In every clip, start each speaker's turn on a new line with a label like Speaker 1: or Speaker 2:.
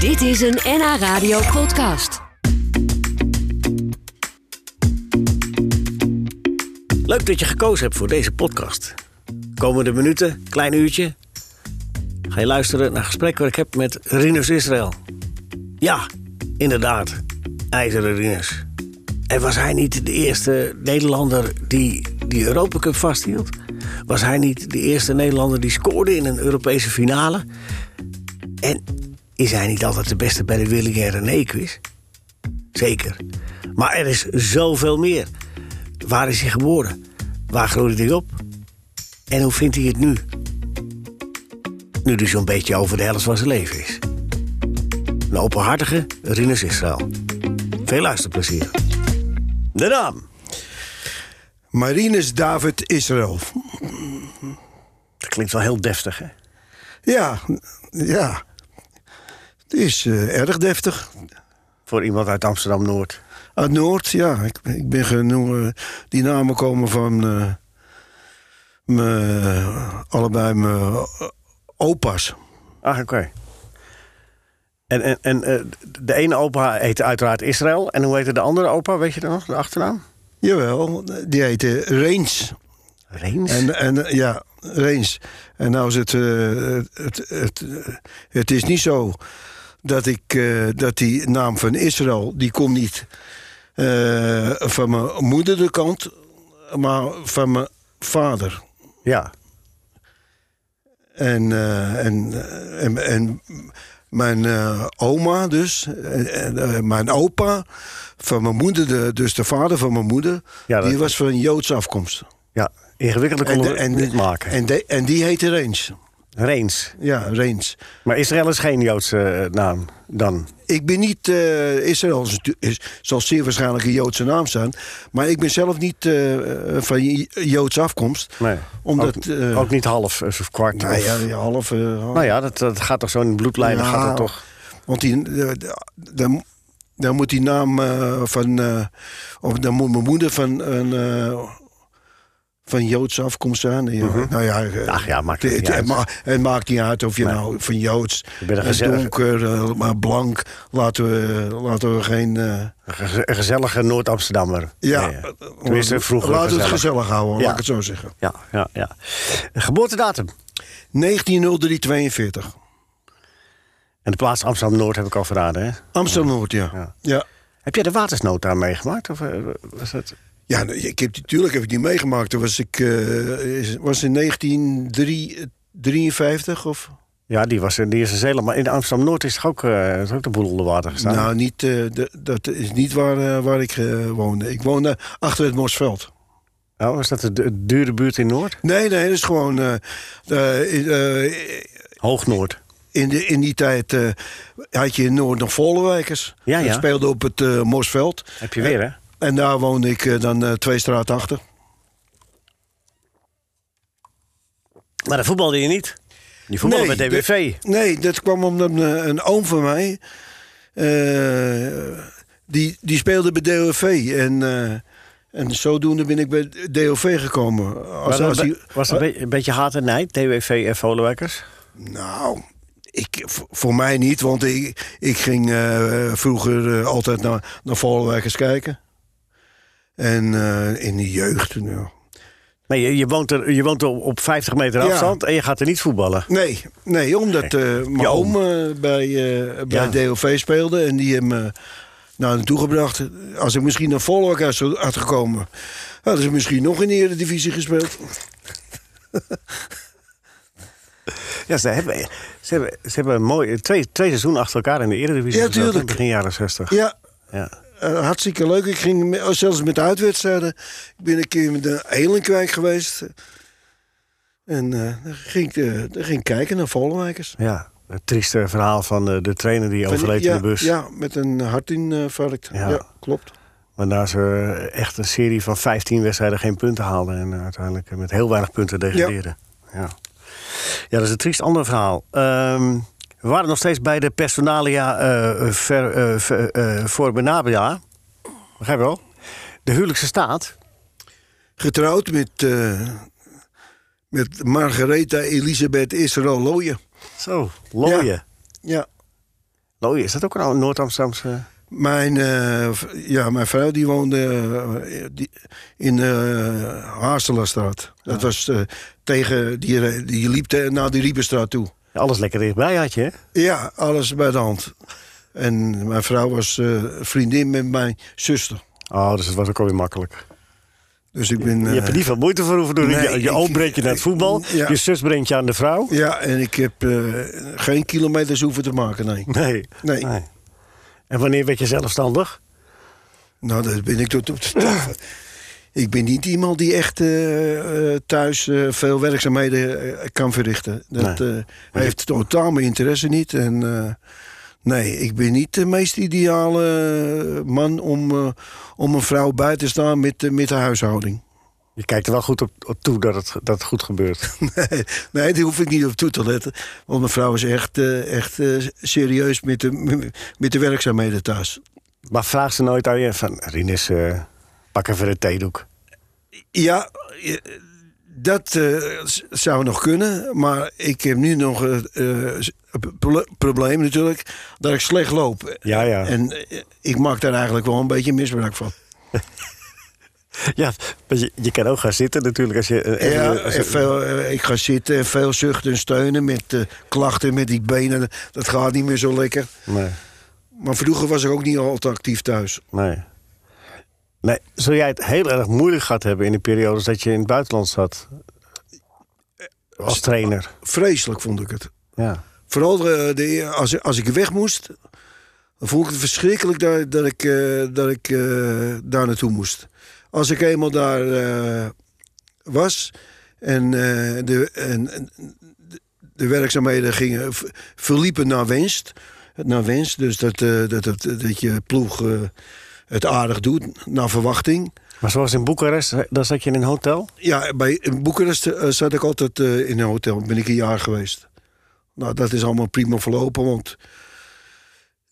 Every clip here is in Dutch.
Speaker 1: Dit is een NH Radio podcast.
Speaker 2: Leuk dat je gekozen hebt voor deze podcast. Komende minuten, klein uurtje, ga je luisteren naar gesprek wat ik heb met Rinus Israël. Ja, inderdaad, IJzeren Rinus. En was hij niet de eerste Nederlander die die Europa Cup vasthield? Was hij niet de eerste Nederlander die scoorde in een Europese finale? En is hij niet altijd de beste bij de Willing en René quiz? Zeker. Maar er is zoveel meer. Waar is hij geboren? Waar groeide hij op? En hoe vindt hij het nu? Nu dus zo'n beetje over de helft van zijn leven is. Een openhartige Rinus Israël. Veel luisterplezier. De naam.
Speaker 3: Marinus David Israël.
Speaker 2: Dat klinkt wel heel deftig, hè?
Speaker 3: Ja, ja. Het is eh, erg deftig.
Speaker 2: Voor iemand uit Amsterdam-Noord.
Speaker 3: Uit Noord, ja. Ik, ik ben genoemd. eh, Die namen komen van. eh, me, allebei mijn eh, opa's.
Speaker 2: Ah, oké. En, en, en eh, de ene opa heette uiteraard Israël. En hoe heette de andere opa, weet je dat nog? De achternaam?
Speaker 3: Jawel, die heette Reens.
Speaker 2: Reens?
Speaker 3: En, en eh, ja, Reens. En nou is het, eh, het, het, eh, het is niet zo dat, ik, eh, dat die naam van Israël, die komt niet eh, van mijn moeder de kant, maar van mijn vader.
Speaker 2: Ja.
Speaker 3: En, eh, en, eh, en, en mijn eh, oma dus, eh, en, eh, mijn opa, van mijn moeder, de, dus de vader van mijn moeder,
Speaker 2: Ja, dat-
Speaker 3: die was van Joodse afkomst.
Speaker 2: ja. Ingewikkelder
Speaker 3: En,
Speaker 2: konden
Speaker 3: de-
Speaker 2: we het
Speaker 3: en, de-
Speaker 2: niet maken.
Speaker 3: en, de- en die heette Reens.
Speaker 2: Reens.
Speaker 3: Ja, Reens.
Speaker 2: Maar Israël is geen Joodse eh, naam dan.
Speaker 3: Ik ben niet. eh, Israël is, natu- is, zal zeer waarschijnlijk een Joodse naam zijn. Maar ik ben zelf niet eh, van J- Joodse afkomst.
Speaker 2: Nee.
Speaker 3: Omdat.
Speaker 2: ook,
Speaker 3: eh,
Speaker 2: ook niet half eh, of kwart.
Speaker 3: nou
Speaker 2: of-
Speaker 3: ja, ja, half. eh, half.
Speaker 2: Nou ja, dat, dat gaat toch zo in de bloedlijnen.
Speaker 3: Ja.
Speaker 2: Gaat dat toch...
Speaker 3: Want die, eh, dan, dan moet die naam eh, van. eh, of dan moet mijn moeder van. Een, eh, van Joodse afkomst zijn. Ja, Nou ja, eh,
Speaker 2: Mhm. Ach ja, maakt het
Speaker 3: het,
Speaker 2: niet
Speaker 3: het
Speaker 2: uit.
Speaker 3: ma- het maakt niet uit of je nou van Joods,
Speaker 2: Je bent een
Speaker 3: eh,
Speaker 2: gezellige-
Speaker 3: donker, eh, maar blank. Laten we, laten we geen. eh,
Speaker 2: Een gez- een gezellige Noord-Amsterdammer.
Speaker 3: Ja, Eh,
Speaker 2: Nee, eh, Tenminste, vroeger
Speaker 3: Laten we het
Speaker 2: gezellig.
Speaker 3: gezellig houden,
Speaker 2: Ja.
Speaker 3: laat ik het zo zeggen.
Speaker 2: Ja, ja, ja. Geboortedatum.
Speaker 3: 190342.
Speaker 2: En de plaats Amsterdam-Noord heb ik al verraden, hè?
Speaker 3: Amsterdam-Noord, ja.
Speaker 2: Ja.
Speaker 3: Ja. ja.
Speaker 2: Heb jij de watersnood daar meegemaakt? Of eh, was dat...
Speaker 3: nee, nou, ik heb, die- tuurlijk heb ik die meegemaakt. Toen was ik eh, is- was in 1953 of...
Speaker 2: Ja, die was in de eerste Zeeland. Maar in Amsterdam-Noord is toch ook, eh, is ook de boel onder water gestaan?
Speaker 3: Nou, niet, eh, d- dat is niet waar, eh, waar ik eh, woonde. Ik woonde achter het Mosveld.
Speaker 2: Oh, was dat de, de dure buurt in Noord?
Speaker 3: Nee, nee, dat is gewoon... eh, eh, in, eh,
Speaker 2: Hoog-Noord.
Speaker 3: in, de, in die tijd eh, had je in Noord nog Vollewijkers.
Speaker 2: Ja, ja.
Speaker 3: Dat speelde op het eh, Mosveld.
Speaker 2: Heb je weer, hè?
Speaker 3: En daar woonde ik eh, dan eh, twee straten achter.
Speaker 2: Maar dat voetbalde je niet. Je voetbalde bij
Speaker 3: dat-
Speaker 2: DBV.
Speaker 3: nee, dat kwam omdat een, een oom van mij... eh, die, die speelde bij DOV. En, eh, en zodoende ben ik bij DOV gekomen. Als,
Speaker 2: Maar
Speaker 3: als
Speaker 2: dat-
Speaker 3: die-
Speaker 2: was dat een, be- een beetje haat en nijd, DWV en Volenwijkers?
Speaker 3: nou, ik, voor- voor mij niet. Want ik, ik ging eh, vroeger eh, altijd naar, naar Volwijkers kijken. En eh, in de jeugd. nou.
Speaker 2: Nee, je, je woont, er, je woont er op 50 meter
Speaker 3: Ja.
Speaker 2: afstand en je gaat er niet voetballen.
Speaker 3: Nee, nee omdat eh mijn
Speaker 2: oom.
Speaker 3: oom eh, bij, eh bij
Speaker 2: Ja.
Speaker 3: DOV speelde en die hem eh naar naartoe gebracht. Als ik misschien naar Volwijk had gekomen, hadden ze misschien nog in de Eredivisie gespeeld.
Speaker 2: Ja, ze hebben, ze hebben, ze hebben een mooi, twee, twee seizoenen achter elkaar in de Eredivisie.
Speaker 3: Ja,
Speaker 2: gespeeld, hè,
Speaker 3: tuurlijk.
Speaker 2: Begin jaren 60.
Speaker 3: Ja,
Speaker 2: Ja.
Speaker 3: eh, hartstikke leuk. Ik ging me- oh, zelfs met de uitwedstrijden. Ik ben een keer met de Elenkwijk geweest. En eh dan, ging ik, eh, dan ging ik kijken naar Volwijkers.
Speaker 2: ja. Het trieste verhaal van eh, de trainer die overleed
Speaker 3: ja,
Speaker 2: in de bus.
Speaker 3: Ja, met een hartinfarct.
Speaker 2: Ja.
Speaker 3: Ja. klopt.
Speaker 2: Waarna ze eh, echt een serie van 15 wedstrijden geen punten haalden. En eh, uiteindelijk eh, met heel weinig punten degradeerden. Ja. Ja. dat is een triest ander verhaal. Ehm, we waren nog steeds bij de personalia eh ver, eh, ver- eh, voor Benabia. Begrijp je wel? De huwelijkse staat.
Speaker 3: Getrouwd met, eh, met Margaretha Elisabeth Israël Looyen.
Speaker 2: Zo, looien.
Speaker 3: Ja,
Speaker 2: Looi, is dat ook een Noord-Amsterdamse...
Speaker 3: Mijn, eh, v- ja, mijn vrouw die woonde eh, die- in de Haarstelenstraat. Dat
Speaker 2: Ah.
Speaker 3: was eh, tegen, die, die liep te- naar de Riebenstraat toe.
Speaker 2: Alles lekker dichtbij had je, hè?
Speaker 3: Ja, alles bij de hand. En mijn vrouw was eh, vriendin met mijn zuster.
Speaker 2: Oh, dus het was ook alweer makkelijk.
Speaker 3: Dus ik ben...
Speaker 2: Je
Speaker 3: eh,
Speaker 2: hebt er niet veel moeite voor hoeven doen.
Speaker 3: nee,
Speaker 2: je je
Speaker 3: ik-
Speaker 2: oom brengt je naar het voetbal.
Speaker 3: Ja.
Speaker 2: Je zus brengt je aan de vrouw.
Speaker 3: ja, en ik heb eh, geen kilometers hoeven te maken, nee.
Speaker 2: Nee.
Speaker 3: Nee.
Speaker 2: En wanneer werd je zelfstandig?
Speaker 3: Nou, dat ben ik tot op de straffen. Ik ben niet iemand die echt eh, eh, thuis eh, veel werkzaamheden eh, kan verrichten. Dat
Speaker 2: Nee.
Speaker 3: eh, heeft totaal mijn interesse niet. En, eh, nee, ik ben niet de meest ideale eh, man om, eh, om een vrouw bij te staan met, eh, met de huishouding.
Speaker 2: Je kijkt er wel goed op, op toe dat het, dat het goed gebeurt.
Speaker 3: Nee, nee, daar hoef ik niet op toe te letten. Want mijn vrouw is echt, eh, echt eh, serieus met de, met de werkzaamheden thuis.
Speaker 2: maar vraag ze nooit aan je van... Rinus, eh, pak even een theedoek.
Speaker 3: Ja, eh, dat eh, z- zou nog kunnen. Maar ik heb nu nog eh, eh, s- een proble- probleem natuurlijk. Dat ik slecht loop.
Speaker 2: Ja, ja.
Speaker 3: En eh, ik maak daar eigenlijk wel een beetje misbruik van.
Speaker 2: ja maar je, je kan ook gaan zitten natuurlijk als je... eh,
Speaker 3: Ja,
Speaker 2: eh, als je-
Speaker 3: en veel, eh, ik ga zitten, en veel zuchten en steunen met eh, klachten met die benen. Dat gaat niet meer zo lekker.
Speaker 2: nee,
Speaker 3: Maar vroeger was ik ook niet al te actief thuis.
Speaker 2: nee. Nee, zul jij het heel erg moeilijk gehad hebben in de periodes dat je in het buitenland zat? Als trainer.
Speaker 3: Vreselijk vond ik het.
Speaker 2: Ja.
Speaker 3: Vooral de, de- als, als ik weg moest, dan vond ik het verschrikkelijk dat, dat ik, eh, dat ik eh, daar naartoe moest. Als ik eenmaal daar eh, was en, eh, de, en, en de werkzaamheden gingen, v- verliepen naar winst. Naar winst, dus dat, eh, dat, dat, dat je ploeg eh, het aardig doet, naar verwachting.
Speaker 2: Maar zoals in Boekarest, dan zat je in een hotel?
Speaker 3: Ja, bij, in Boekarest eh, zat ik altijd eh, in een hotel. Ben ik een jaar geweest. Nou, dat is allemaal prima verlopen, want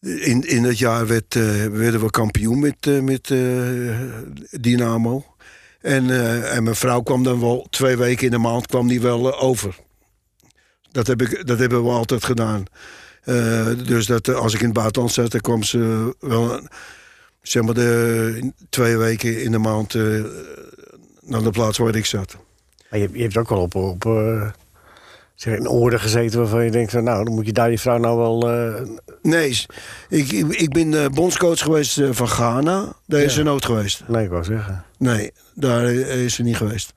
Speaker 3: in, in dat jaar werd, eh, werden we kampioen met, eh, met eh, Dynamo. En, eh, en mijn vrouw kwam dan wel twee weken in de maand kwam die wel eh, over. Dat, heb ik, dat hebben we altijd gedaan. Eh, dus dat, eh, als ik in het buitenland zat, dan kwam ze wel een- zeg maar de, twee weken in de maand eh, naar de plaats waar ik zat.
Speaker 2: Maar je, je hebt ook wel op, op eh, zeg, in orde gezeten waarvan je denkt... Van, nou, dan moet je daar die vrouw nou wel... eh,
Speaker 3: Nee, s- ik, ik, ik ben eh, bondscoach geweest eh, van Ghana. Daar is
Speaker 2: Ja.
Speaker 3: ze nooit geweest.
Speaker 2: nee, ik wou zeggen.
Speaker 3: Nee, daar eh, is ze niet geweest.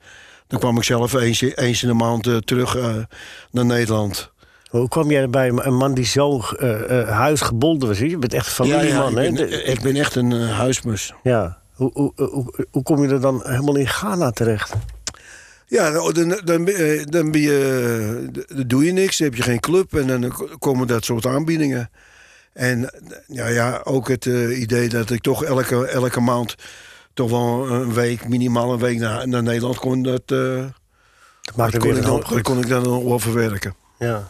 Speaker 3: Dan kwam ik zelf eens, eens in de maand eh, terug eh, naar Nederland.
Speaker 2: Hoe kwam jij erbij? Een man die zo eh, eh, huisgebonden was. Je bent echt familieman,
Speaker 3: ik,
Speaker 2: hè?
Speaker 3: ben,
Speaker 2: De-
Speaker 3: ik ben echt een eh, huismus.
Speaker 2: ja. Hoe, hoe, hoe, hoe kom je er dan helemaal in Ghana terecht?
Speaker 3: Ja, nou, dan, dan, eh, dan, ben je, eh, dan doe je niks, dan heb je geen club en dan k- komen dat soort aanbiedingen. En eh, ja, ja ook het eh, idee dat ik toch elke, elke maand toch wel een week, minimaal een week naar, naar Nederland kon, dat, eh,
Speaker 2: Dat maakt
Speaker 3: dat
Speaker 2: er
Speaker 3: kon,
Speaker 2: weer een
Speaker 3: ik dan,
Speaker 2: hoop
Speaker 3: dat
Speaker 2: goed.
Speaker 3: kon ik dan nog wel verwerken.
Speaker 2: Ja.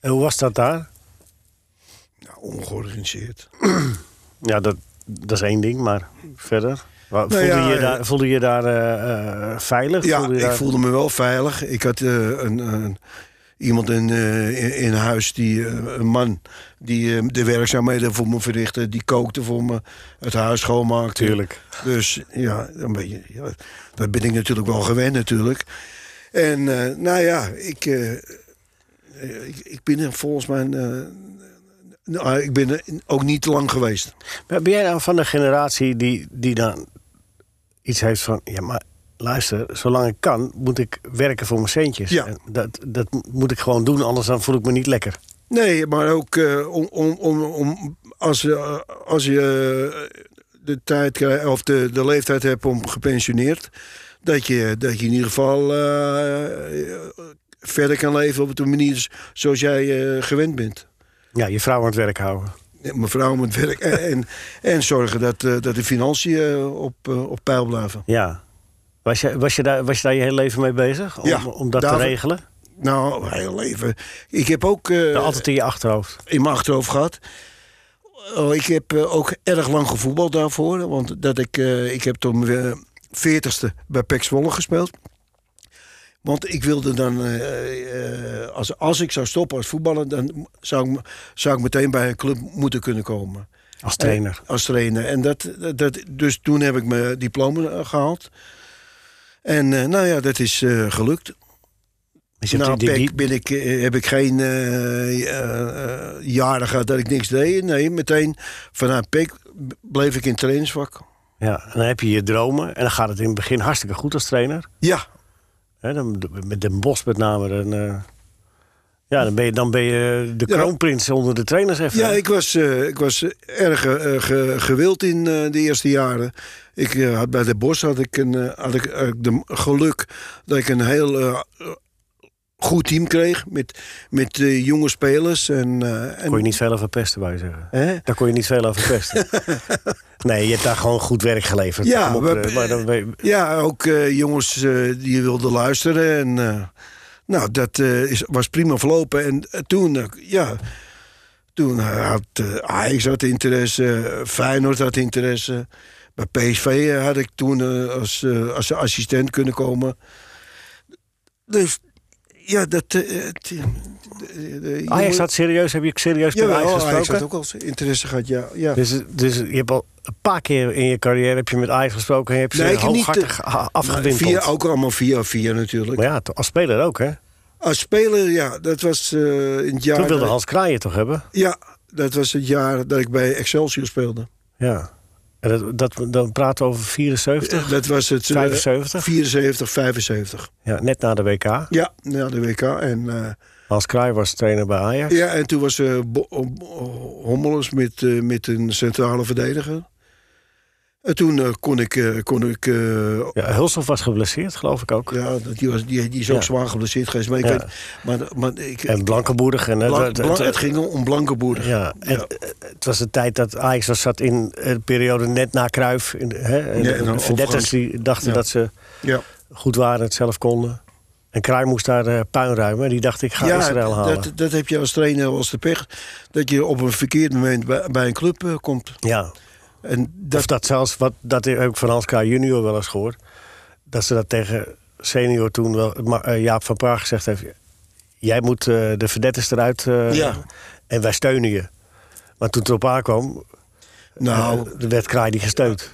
Speaker 2: En hoe was dat daar?
Speaker 3: Ja, ongeorganiseerd.
Speaker 2: Ja, dat, dat is één ding, maar verder... Wa-
Speaker 3: Nou
Speaker 2: voelde,
Speaker 3: ja,
Speaker 2: je
Speaker 3: eh,
Speaker 2: daar, voelde je daar eh, eh, veilig?
Speaker 3: Ja,
Speaker 2: voelde je
Speaker 3: ik
Speaker 2: daar-
Speaker 3: voelde me wel veilig. Ik had eh, een, een- iemand in, eh, in, in huis, die, eh, een man, die eh, de werkzaamheden voor me verrichtte. Die kookte voor me, het huis schoonmaakte.
Speaker 2: Tuurlijk.
Speaker 3: Dus ja, een beetje, ja, dat ben ik natuurlijk wel gewend natuurlijk. En eh, nou ja, ik, eh, ik, ik ben er volgens mij... eh, nou, ik ben er ook niet te lang geweest.
Speaker 2: Maar Ben jij nou van de generatie die, die dan iets heeft van... ja, maar luister, zolang ik kan, moet ik werken voor mijn centjes.
Speaker 3: Ja.
Speaker 2: En Dat, dat moet ik gewoon doen, anders dan voel ik me niet lekker.
Speaker 3: Nee, maar ook eh, om, om, om, om als, je- als je eh, de tijd krijgt, of de, de leeftijd hebt om gepensioneerd, dat je, dat je in ieder geval eh, verder kan leven op de manier zoals jij eh, gewend bent.
Speaker 2: Ja, je vrouw aan het werk houden.
Speaker 3: Mevrouw moet werk en, en, en zorgen dat, eh, dat de financiën eh, op, eh, op peil blijven.
Speaker 2: Ja. Was je, was, je daar, was je daar je hele leven mee bezig? Om,
Speaker 3: Ja,
Speaker 2: om dat
Speaker 3: David-
Speaker 2: te regelen?
Speaker 3: Nou, mijn hele leven. Ik heb ook eh,
Speaker 2: Nou, altijd in je achterhoofd.
Speaker 3: in mijn achterhoofd gehad. Oh, ik heb eh, ook erg lang gevoetbald daarvoor. eh, Want dat ik, eh, ik heb toen mijn veertigste bij PEC Zwolle gespeeld. Want ik wilde dan, eh, eh, als, als ik zou stoppen als voetballer, dan zou ik, zou ik meteen bij een club moeten kunnen komen.
Speaker 2: Als trainer.
Speaker 3: Eh, als trainer. En dat, dat- dat, dus toen heb ik mijn diploma eh, gehaald. En eh, nou ja, dat is eh, gelukt.
Speaker 2: Dus je hebt
Speaker 3: Na
Speaker 2: die- die-
Speaker 3: PEC Nou, ben ik, eh, heb ik geen eh, eh, eh, jaren gehad dat ik niks deed. Nee, meteen vanuit PEC bleef ik in het trainingsvak.
Speaker 2: ja, en dan heb je je dromen. En dan gaat het in het begin hartstikke goed als trainer.
Speaker 3: Ja,
Speaker 2: Hè, dan, met Den Bos met name. Dan, eh, ja, dan ben, je, dan ben je de
Speaker 3: Ja.
Speaker 2: kroonprins onder de trainers even.
Speaker 3: ja ik, was, eh, ik was erg eh, ge- gewild in eh, de eerste jaren. Ik, eh, had, bij de Bos had ik, een, eh, had ik eh, de geluk dat ik een heel eh, goed team kreeg. Met, met eh, jonge spelers. En, eh, en,
Speaker 2: kon je niet veel over pesten, wou je zeggen.
Speaker 3: Hè?
Speaker 2: Daar kon je niet veel over pesten. nee, je hebt daar gewoon goed werk geleverd.
Speaker 3: Ja,
Speaker 2: Kom op,
Speaker 3: we-
Speaker 2: eh, maar dan ben je-
Speaker 3: Ja, ook eh, jongens eh, die wilden luisteren. En, eh, nou, dat eh, is, was prima verlopen. En eh, toen, eh, ja, toen eh, had eh Ajax had interesse, eh, Feyenoord had interesse. Bij PSV eh, had ik toen eh, als, eh, als assistent kunnen komen. Dus ja, dat... eh, het- eh, eh,
Speaker 2: Ajax
Speaker 3: jongen-
Speaker 2: had serieus, heb Ah, je serieus met
Speaker 3: Jawel,
Speaker 2: Ajax gesproken?
Speaker 3: Ajax had ook al interesse gehad, ja. ja.
Speaker 2: Dus, dus je hebt al een paar keer in je carrière heb je met Ajax gesproken en heb je
Speaker 3: Nee,
Speaker 2: ze
Speaker 3: ik heb niet, eh,
Speaker 2: hooghartig a- afgewimpeld.
Speaker 3: Via, ook allemaal via, via natuurlijk.
Speaker 2: Maar ja, to- als speler ook, hè?
Speaker 3: Als speler, ja, dat was eh, in het jaar.
Speaker 2: Toen wilde
Speaker 3: dat-
Speaker 2: Hans Kraaien toch hebben?
Speaker 3: Ja, dat was het jaar dat ik bij Excelsior speelde.
Speaker 2: Ja. En dat, dat, dan praten we over 74,
Speaker 3: Dat was het eh,
Speaker 2: 75.
Speaker 3: 74, 75.
Speaker 2: Ja, net na de WK.
Speaker 3: Ja, na de WK. En, eh,
Speaker 2: Hans Kraaien was trainer bij Ajax.
Speaker 3: ja, en toen was eh Bo- Ho- Hommelers met, eh, met een centrale verdediger. En toen eh, kon ik... eh, kon ik eh,
Speaker 2: Ja, Hulshoff was geblesseerd, geloof ik ook.
Speaker 3: ja, dat- die, was, die, die is ook
Speaker 2: Ja.
Speaker 3: zwaar geblesseerd geweest. Maar, ik
Speaker 2: Ja.
Speaker 3: weet, maar, maar ik,
Speaker 2: En Blankenboerdig. En,
Speaker 3: Blan-
Speaker 2: het- het-
Speaker 3: Blan- het ging om Blankenboerder.
Speaker 2: Ja, en,
Speaker 3: Ja.
Speaker 2: eh, het was de tijd dat Ajax was zat in eh, de periode net na Kruif. In de, hè, en
Speaker 3: Ja,
Speaker 2: de-
Speaker 3: en dan
Speaker 2: de verdetters
Speaker 3: overgang.
Speaker 2: die dachten
Speaker 3: Ja.
Speaker 2: dat ze
Speaker 3: ja.
Speaker 2: goed waren, het zelf konden. En Kruij moest daar eh, puin ruimen. En die dacht, ik ga Israël halen.
Speaker 3: Dat, dat heb je als trainer als de pech. Dat je op een verkeerd moment bij, bij een club eh, komt.
Speaker 2: ja.
Speaker 3: En
Speaker 2: Of
Speaker 3: dat,
Speaker 2: dat zelfs, wat, dat heb ik van Hans Kraaij junior wel eens gehoord. Dat ze dat tegen senior toen wel, Ma- eh, Jaap van Praag gezegd heeft. Jij moet eh, de verdetters eruit eh,
Speaker 3: Ja.
Speaker 2: en wij steunen je. Maar toen het op aankwam,
Speaker 3: nou,
Speaker 2: eh, werd Kraai die gesteund.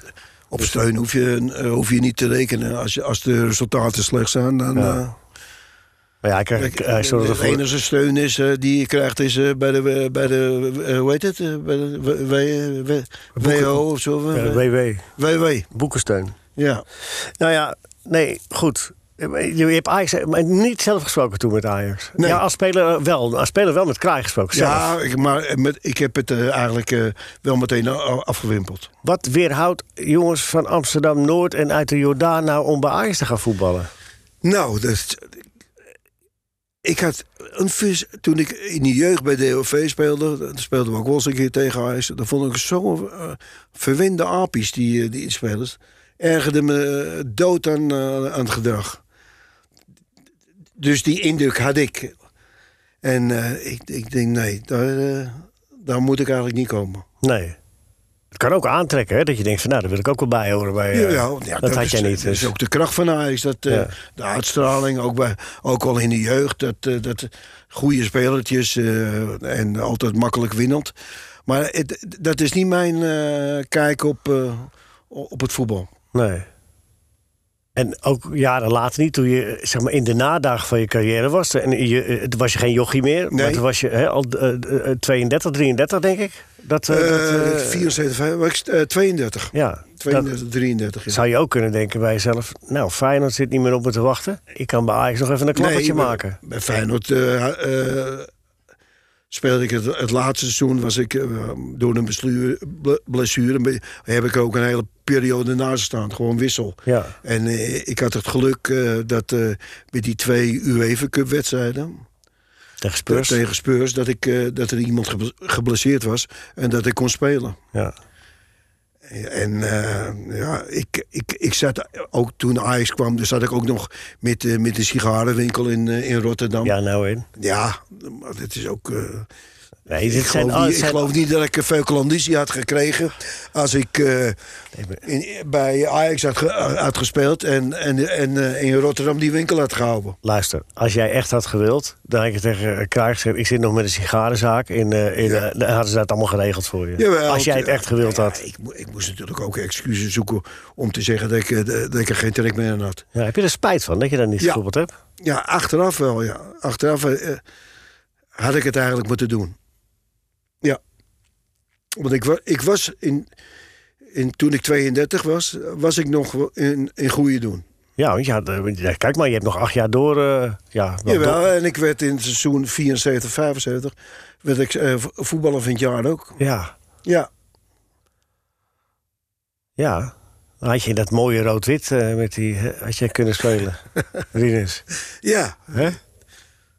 Speaker 3: op
Speaker 2: dus-
Speaker 3: steun hoef je, eh, hoef je niet te rekenen. Als, je, als de resultaten slecht zijn, dan...
Speaker 2: Ja.
Speaker 3: eh,
Speaker 2: Maar ja, ik,
Speaker 3: kijk,
Speaker 2: hij zorgde
Speaker 3: de
Speaker 2: ervoor-
Speaker 3: enige steun is, eh, die je krijgt is eh, bij de, eh, bij de eh, hoe heet het? Eh, bij de W- W- W-
Speaker 2: Boeken-
Speaker 3: WO of zo.
Speaker 2: Ja,
Speaker 3: W-
Speaker 2: WW,
Speaker 3: WW,
Speaker 2: boekensteun.
Speaker 3: ja.
Speaker 2: Nou ja, nee, goed. Je hebt Ajax maar niet zelf gesproken toen met Ajax.
Speaker 3: Nee.
Speaker 2: Ja, als speler wel. Als speler wel met Kraai gesproken. Zelf.
Speaker 3: Ja, ik, maar met, ik heb het eh, eigenlijk eh, wel meteen a- afgewimpeld.
Speaker 2: Wat weerhoudt jongens van Amsterdam-Noord en uit de Jordaan nou om bij Ajax te gaan voetballen?
Speaker 3: Nou, dat, ik had een vis. Toen ik in de jeugd bij DOV speelde, dan speelden we ook wel eens een keer tegen Ajax. Dan vond ik zo'n eh, verwende apies, die, eh, die spelers. Ergerde me eh, dood aan, eh, aan het gedrag. Dus die indruk had ik. En eh, ik, ik denk, nee, daar, eh, daar moet ik eigenlijk niet komen.
Speaker 2: Nee. Het kan ook aantrekken, hè? Dat je denkt van, nou, daar wil ik ook wel bij horen. Bij, eh,
Speaker 3: Jawel, ja,
Speaker 2: dat, had
Speaker 3: is,
Speaker 2: jij niet.
Speaker 3: Dat
Speaker 2: Dus.
Speaker 3: is ook de kracht van Ajax. Dat, eh,
Speaker 2: Ja.
Speaker 3: De uitstraling, ook, bij, ook al in de jeugd. Dat, eh, dat goede spelertjes eh, en altijd makkelijk winnend. Maar het- dat is niet mijn eh, kijk op, eh, op het voetbal.
Speaker 2: Nee. En ook jaren later niet, toen je zeg maar, in de nadagen van je carrière was. En je, eh, toen was je geen jochie meer, maar
Speaker 3: Nee.
Speaker 2: toen was je hè, al eh, eh, 32, 33 denk ik. Dat, eh, dat, eh,
Speaker 3: Eh, 74, hè, maar ik- eh, 32.
Speaker 2: Ja,
Speaker 3: 32, 33.
Speaker 2: dat
Speaker 3: ja.
Speaker 2: zou je ook kunnen denken bij jezelf. Nou, Feyenoord zit niet meer op me te wachten. Ik kan bij Ajax nog even een klappertje
Speaker 3: Nee,
Speaker 2: maken.
Speaker 3: Bij Feyenoord eh, eh, speelde ik het, het laatste seizoen. Was ik, eh, door een blessure, ble- blessure be- heb ik er ook een hele periode naast staan. Gewoon wissel.
Speaker 2: Ja.
Speaker 3: En eh, ik had het geluk eh, dat eh, met die twee UEFA Cup wedstrijden
Speaker 2: Tegen Spurs.
Speaker 3: tegen Spurs... Dat, ik, eh, dat er iemand geble- geblesseerd was en dat ik kon spelen.
Speaker 2: Ja.
Speaker 3: En eh, ja, ik, ik, ik zat ook toen Ajax kwam... dus zat ik ook nog met, eh, met de sigarenwinkel in, eh, in Rotterdam.
Speaker 2: ja, nou in.
Speaker 3: Ja, maar dit is ook. eh,
Speaker 2: Nee, dit
Speaker 3: Ik
Speaker 2: zijn,
Speaker 3: geloof,
Speaker 2: al-
Speaker 3: niet, ik
Speaker 2: zijn-
Speaker 3: geloof niet dat ik een feukelanditie had gekregen als ik eh,
Speaker 2: maar-
Speaker 3: in- bij Ajax had, ge- had gespeeld en, en, en eh, in Rotterdam die winkel had gehouden.
Speaker 2: Luister, als jij echt had gewild, dan had ik het tegen Kraak gezegd... ik zit nog met een sigarenzaak in... eh, in eh, dan hadden ze dat allemaal geregeld voor je.
Speaker 3: Jawel,
Speaker 2: als jij het echt gewild
Speaker 3: ja,
Speaker 2: had.
Speaker 3: ik, mo- ik moest natuurlijk ook excuses zoeken om te zeggen dat ik, eh, dat ik er geen trek meer aan had.
Speaker 2: Ja, heb je er spijt van dat je dat niet
Speaker 3: Ja.
Speaker 2: gevoeld hebt?
Speaker 3: Ja, achteraf wel, ja. Achteraf eh, had ik het eigenlijk moeten doen. Ja. Want ik, wa- ik was, in, in, toen ik 32 was, was ik nog wel in, in goede doen.
Speaker 2: Ja, want je had, eh, want je- kijk maar, je hebt nog acht jaar door. eh, ja, wel door-
Speaker 3: Jawel, en ik werd in het seizoen 74, 75, werd ik eh, vo- voetballer van het jaar ook.
Speaker 2: ja,
Speaker 3: Ja,
Speaker 2: ja. Dan had je dat mooie rood-wit eh, met die, eh, had je kunnen spelen, Rinus.
Speaker 3: ja.
Speaker 2: Hè?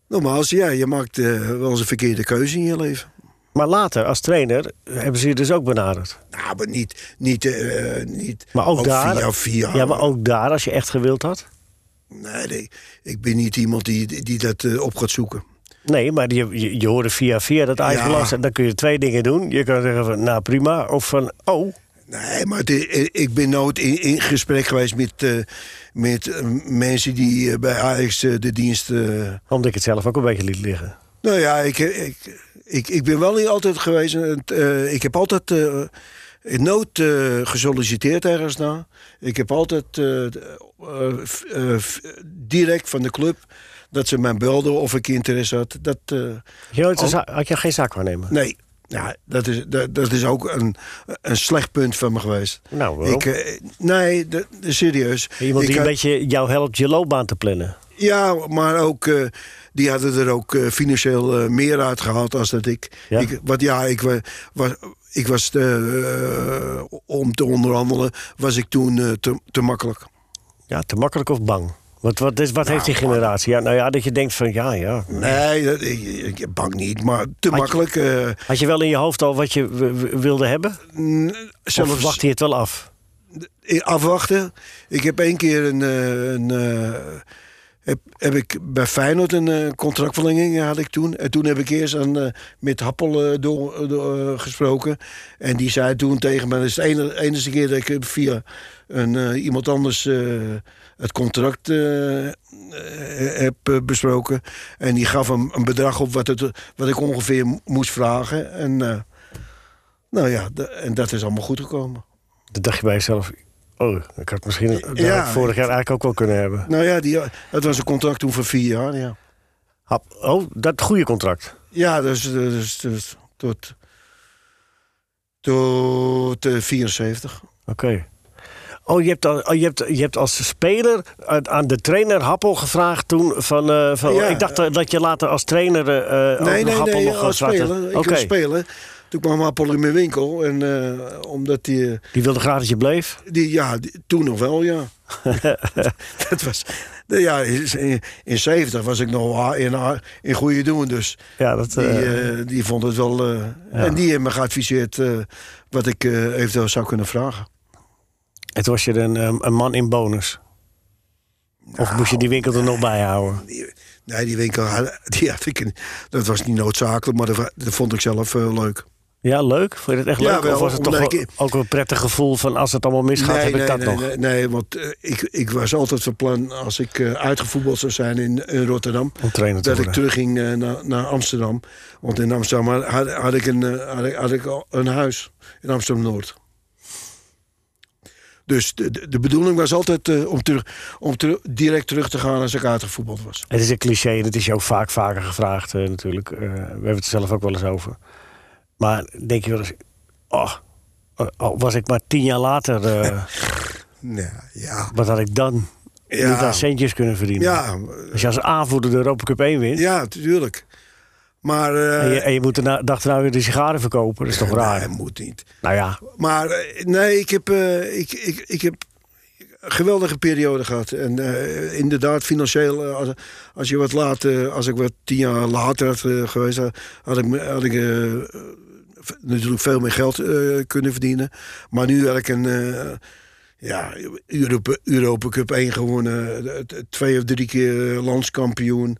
Speaker 3: normaal is- ja, je maakt eh, wel eens een verkeerde keuze in je leven.
Speaker 2: Maar later, als trainer, hebben ze je dus ook benaderd.
Speaker 3: Nou, maar niet, niet, eh, eh, niet
Speaker 2: Maar ook, daar,
Speaker 3: via, via.
Speaker 2: Ja, maar ook daar, als je echt gewild had.
Speaker 3: Nee, nee, ik ben niet iemand die, die- die dat eh, op gaat zoeken.
Speaker 2: Nee, maar je, je, je hoorde via via dat Ajax
Speaker 3: Ja.
Speaker 2: belast. En dan kun je twee dingen doen. Je kan zeggen van, nou prima. Of van, oh,
Speaker 3: Nee, maar het i- ik ben nooit in, in gesprek geweest met, eh, met eh, mensen die eh, bij Ajax eh, de dienst... eh,
Speaker 2: omdat ik het zelf ook een beetje liet liggen.
Speaker 3: Nou ja, ik, ik, ik, ik ben wel niet altijd geweest. en, eh, ik heb altijd eh, in nood eh, gesolliciteerd ergens na. Ik heb altijd eh, eh, f- eh, f- direct van de club dat ze mij belden of ik interesse had. Dat, eh,
Speaker 2: Had je, nooit een
Speaker 3: Oh.
Speaker 2: za- had je geen zaak waarnemen?
Speaker 3: nee, ja, dat, is, dat, dat is ook een, een slecht punt van me geweest.
Speaker 2: Nou, waarom?
Speaker 3: Ik, eh, nee, dat- serieus.
Speaker 2: Iemand
Speaker 3: Ik
Speaker 2: die een
Speaker 3: had-
Speaker 2: beetje jou helpt je loopbaan te plannen.
Speaker 3: Ja, maar ook, eh, die hadden er ook eh, financieel eh, meer uit gehaald als dat ik.
Speaker 2: Ja.
Speaker 3: ik wat ja, ik wa- was, ik was te, eh, om te onderhandelen, was ik toen eh, te, te makkelijk.
Speaker 2: Ja, te makkelijk of bang? Wat, wat, is, wat heeft die generatie? Ja, nou ja, dat je denkt van, ja, ja.
Speaker 3: Nee, dat, ik, ik- bang niet, maar te makkelijk. eh,
Speaker 2: Had je wel in je hoofd al wat je w- w- wilde hebben?
Speaker 3: n-
Speaker 2: Of
Speaker 3: zelfs
Speaker 2: wacht je het wel af?
Speaker 3: Eh, afwachten. Ik heb één keer een. eh, een eh, heb, heb ik bij Feyenoord een eh, contractverlenging had ik toen. En toen heb ik eerst aan, eh, met Happel eh, door, door, eh, gesproken. En die zei toen tegen mij... dat is de ene- enige keer dat ik via een, eh, iemand anders eh, het contract eh, eh, heb eh, besproken. En die gaf hem een bedrag op wat, het, wat ik ongeveer mo- moest vragen. En eh, nou ja, da- en dat is allemaal goed gekomen.
Speaker 2: Dan dacht je bij jezelf, oh, ik had misschien dat had ik
Speaker 3: Ja.
Speaker 2: vorig jaar eigenlijk ook wel kunnen hebben.
Speaker 3: Nou ja, die, dat was een contract toen voor vier jaar, ja.
Speaker 2: Hap- Oh, dat goede contract.
Speaker 3: Ja, dus, dus, dus tot, tot eh, 74.
Speaker 2: Oké. Oh, je hebt, al, oh, je, hebt, je hebt als speler aan- aan de trainer Happel gevraagd toen van... eh, van
Speaker 3: Ja.
Speaker 2: ik dacht eh, dat je later als trainer eh ook
Speaker 3: nee,
Speaker 2: nog
Speaker 3: nee,
Speaker 2: Happel
Speaker 3: nee,
Speaker 2: nog
Speaker 3: als
Speaker 2: gaat praten.
Speaker 3: speler. Ik
Speaker 2: Oké,
Speaker 3: was speler. Toen kwam Appel in mijn winkel. En eh, omdat die,
Speaker 2: die wilde graag dat je bleef.
Speaker 3: die... Ja, die- toen nog wel, ja. dat was... nou Ja, in, in 70 was ik nog a- in, a- in goede doen, dus
Speaker 2: Ja, dat...
Speaker 3: die,
Speaker 2: eh,
Speaker 3: eh, die vond het wel... eh, En die heeft me geadviseerd eh, wat ik eh, eventueel zou kunnen vragen.
Speaker 2: En toen was je een, ehm, een man in bonus. of moest je die
Speaker 3: Nou.
Speaker 2: winkel er nog bij houden?
Speaker 3: Die- Nee, die winkel had, die had ik. niet. Dat was niet noodzakelijk, maar dat, wa- dat vond ik zelf eh, leuk.
Speaker 2: Ja, leuk? Vond je dat echt
Speaker 3: Ja,
Speaker 2: leuk?
Speaker 3: wel,
Speaker 2: of was het toch
Speaker 3: omdat
Speaker 2: wel-
Speaker 3: ik-
Speaker 2: ook een prettig gevoel van als het allemaal misgaat,
Speaker 3: nee,
Speaker 2: heb
Speaker 3: nee,
Speaker 2: ik dat
Speaker 3: nee,
Speaker 2: nog?
Speaker 3: Nee, nee, want eh, ik, ik was altijd van plan als ik eh, uitgevoetbald zou zijn in, in Rotterdam.
Speaker 2: Om trainer te
Speaker 3: Dat ik
Speaker 2: worden.
Speaker 3: terugging eh, naar, naar Amsterdam. Want in Amsterdam had, had- had ik een, eh, had, ik- had ik al een huis. In Amsterdam Noord. Dus de, de- de bedoeling was altijd eh, om, terug, om teru- direct terug te gaan als ik uitgevoetbald was.
Speaker 2: Het is een cliché en het is je ook vaak vaker gevraagd eh, natuurlijk. Eh, we hebben het er zelf ook wel eens over. Maar denk je wel eens, oh, eh, al was ik maar tien jaar later, eh,
Speaker 3: Nee, ja.
Speaker 2: wat had ik dan?
Speaker 3: Ja.
Speaker 2: Niet aan centjes kunnen verdienen.
Speaker 3: Ja, eh,
Speaker 2: Als je als aanvoerder de Europa Cup 1 wint
Speaker 3: Ja, tuurlijk. Maar. eh,
Speaker 2: en, je, en je moet de na- dag daarna weer de sigaren verkopen, dat is toch raar?
Speaker 3: Nee, moet niet.
Speaker 2: Nou ja,
Speaker 3: Maar eh, nee, ik heb, eh, ik, ik, ik heb een geweldige periode gehad. En eh, inderdaad, financieel, eh, als, als je wat later, als ik wat tien jaar later had eh, geweest, had, had ik, me- had ik eh, v- natuurlijk veel meer geld eh, kunnen verdienen. Maar nu had ik een. eh, ja, Europa, Europa Cup 1 gewonnen. eh, t- Twee of drie keer eh, landskampioen.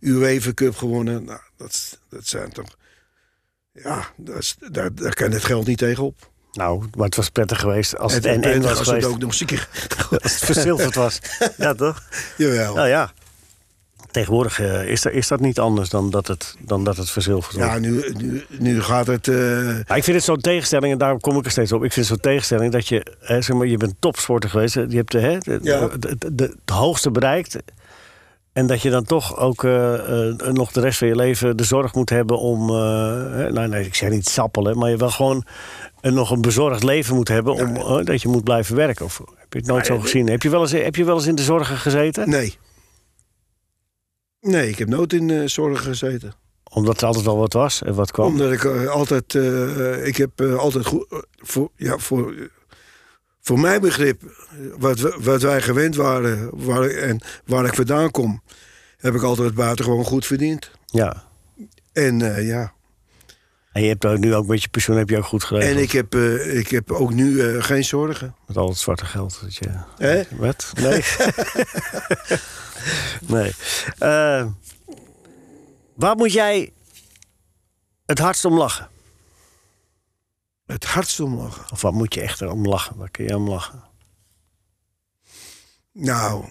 Speaker 3: UEFA Cup gewonnen. Nou, dat, dat zijn toch Ja, dat is- daar, daar kan het geld niet tegenop.
Speaker 2: Nou, maar het was prettig geweest als het
Speaker 3: En-
Speaker 2: en
Speaker 3: en
Speaker 2: was
Speaker 3: als het
Speaker 2: geweest.
Speaker 3: ook nog eens een keer.
Speaker 2: Als het verzilverd was. Ja, toch?
Speaker 3: Jawel.
Speaker 2: Nou ja. Tegenwoordig eh, is, dat, is dat niet anders dan dat het, dan dat het verzilverd wordt.
Speaker 3: Ja, nu, nu, nu gaat het. eh,
Speaker 2: Maar ik vind het zo'n tegenstelling, en daarom kom ik er steeds op. Ik vind het zo'n tegenstelling dat je, hè, zeg maar, je bent topsporter geweest. hè, Je hebt de, hè, de,
Speaker 3: Ja.
Speaker 2: de- de- de- het hoogste bereikt. En dat je dan toch ook eh, eh, nog de rest van je leven de zorg moet hebben om. eh, hè, nou, nee, ik zeg niet sappelen, maar je wel gewoon eh, nog een bezorgd leven moet hebben. Om, eh, dat je moet blijven werken. Of heb je het nooit zo gezien? Heb je, wel eens, heb je wel eens in de zorgen gezeten?
Speaker 3: nee. Nee, ik heb nooit in eh, zorgen gezeten.
Speaker 2: Omdat er altijd wel wat was en wat kwam.
Speaker 3: Omdat ik eh, altijd, eh, ik heb eh, altijd goed, eh, voor, ja, voor, voor mijn begrip, eh, wat, we- wat wij gewend waren waar, ik- en waar ik vandaan kom, heb ik altijd buitengewoon goed verdiend.
Speaker 2: Ja.
Speaker 3: En eh, ja,
Speaker 2: En je hebt ook nu ook met je pensioen heb je ook goed geregeld.
Speaker 3: en ik heb, eh, ik heb ook nu eh, geen zorgen.
Speaker 2: Met al het zwarte geld. Dat je...
Speaker 3: Hè?
Speaker 2: Wat? Nee. nee. Eh, waar moet jij het hardst om lachen?
Speaker 3: Het hardst omlaag.
Speaker 2: Of wat moet je echt om lachen? Waar kun je om lachen?
Speaker 3: Nou,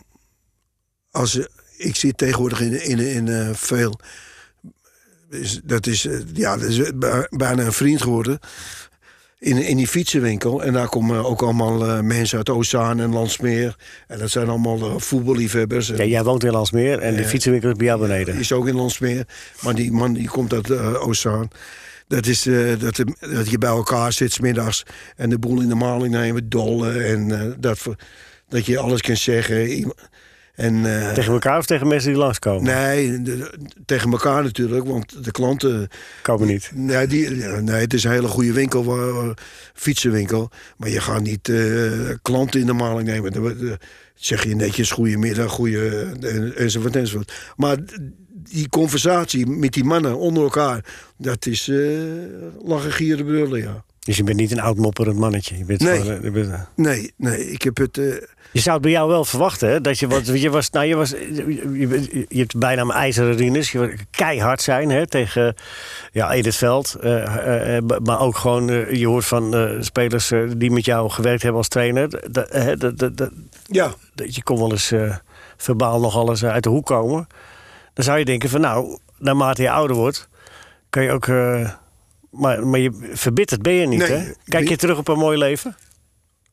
Speaker 3: als, eh, ik zit tegenwoordig in, in, in eh, veel. is- dat is, eh, ja, dat is bij- bijna een vriend geworden. In, in die fietsenwinkel. En daar komen ook allemaal eh, mensen uit Ozaan en Landsmeer. En dat zijn allemaal eh, voetballiefhebbers. En
Speaker 2: Ja, jij woont in Landsmeer en de
Speaker 3: Ja.
Speaker 2: fietsenwinkel is bij jou
Speaker 3: die
Speaker 2: beneden.
Speaker 3: Is ook in Landsmeer. Maar die man die komt uit eh, Ozaan. Dat is eh, dat, de- dat je bij elkaar zit 's middags en de boel in de maling nemen, dollen. En eh, dat, voor- dat je alles kunt zeggen. Iem- En, eh,
Speaker 2: Tegen elkaar of tegen mensen die langskomen?
Speaker 3: Nee, de- tegen elkaar natuurlijk, want de klanten.
Speaker 2: Komen niet.
Speaker 3: Nee, die, ja, nee het is een hele goede winkel, wa- wa- fietsenwinkel. Maar je gaat niet eh, klanten in de maling nemen. Dan wordt, eh, zeg je netjes goedemiddag, goeie, en- enzovoort, enzovoort. Maar d- die conversatie met die mannen onder elkaar, dat is eh lachen, gieren, brullen, ja.
Speaker 2: Dus je bent niet een oud mopperend mannetje. Je, bent
Speaker 3: Nee.
Speaker 2: gewoon, eh, je, bent-
Speaker 3: Nee, nee, ik heb het. eh,
Speaker 2: je zou het bij jou wel verwachten, hè? Dat je, wat, je was, nou, je was, je, je, bent- je hebt bijna een ijzeren rinus. Je was keihard zijn, hè? Tegen, ja, Edith Veld. eh, eh, eh, maar ook gewoon, eh, je hoort van eh, spelers eh, die met jou gewerkt hebben als trainer. Dat, eh, hè, dat, dat, dat,
Speaker 3: ja,
Speaker 2: dat je kon wel eens eh, verbaal nog alles eh, uit de hoek komen. Dan zou je denken van, nou, naarmate je ouder wordt, kan je ook... eh, maar, maar je verbitterd ben je niet,
Speaker 3: Nee,
Speaker 2: hè? Kijk je
Speaker 3: die-
Speaker 2: terug op een mooi leven?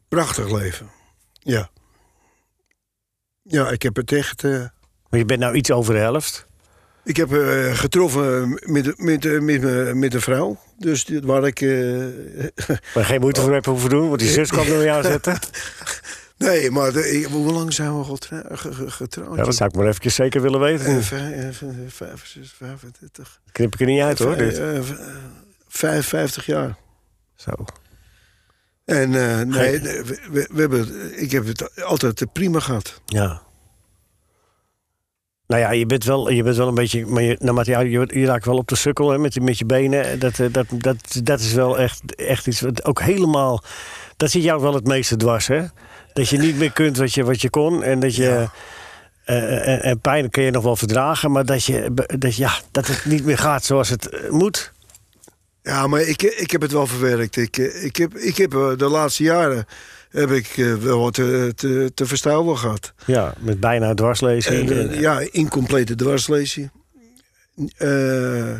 Speaker 3: prachtig leven. Ja. Ja, ik heb het echt. eh,
Speaker 2: Want je bent nou iets over de helft.
Speaker 3: Ik heb eh, getroffen met, met, eh, met, met, met een vrouw. Dus dit- waar ik. eh,
Speaker 2: Waar je geen moeite voor hebt hoeven doen, want die zus kwam door jou zetten.
Speaker 3: nee, maar de- ik- hoe lang zijn we getra- ge- ge- getrouwd?
Speaker 2: Ja, dat zou ik maar even zeker willen weten.
Speaker 3: Eh, vij- eh, v- vijf, zes, 35.
Speaker 2: Knip ik er niet uit hoor.
Speaker 3: Vij-
Speaker 2: Dit.
Speaker 3: eh, v- eh, 55 jaar.
Speaker 2: Zo.
Speaker 3: En eh, nee,
Speaker 2: Geen-
Speaker 3: nee, we, we- we hebben, ik heb het altijd eh, prima gehad.
Speaker 2: Ja. Nou ja, je bent wel, je bent wel een beetje. Maar je, naarmate je, ouder- je, wordt- je raakt wel op de sukkel hè, met, je- met je benen. Dat, eh, dat, dat, dat is wel echt, echt iets wat ook helemaal. Dat zit jou wel het meeste dwars, hè? Dat je niet meer kunt wat je, wat je kon. En dat je. eh, eh, en, en pijn kun je nog wel verdragen, maar dat, je, dat, je- ja, dat het niet meer gaat zoals het eh, moet.
Speaker 3: Ja, maar ik, ik heb het wel verwerkt. Ik, eh, ik heb, ik heb eh, de laatste jaren heb ik eh, wel wat eh, te, te verstouwen gehad.
Speaker 2: Ja, met bijna dwarslezing.
Speaker 3: En,
Speaker 2: En,
Speaker 3: eh, ja, incomplete dwarslezing. Eh,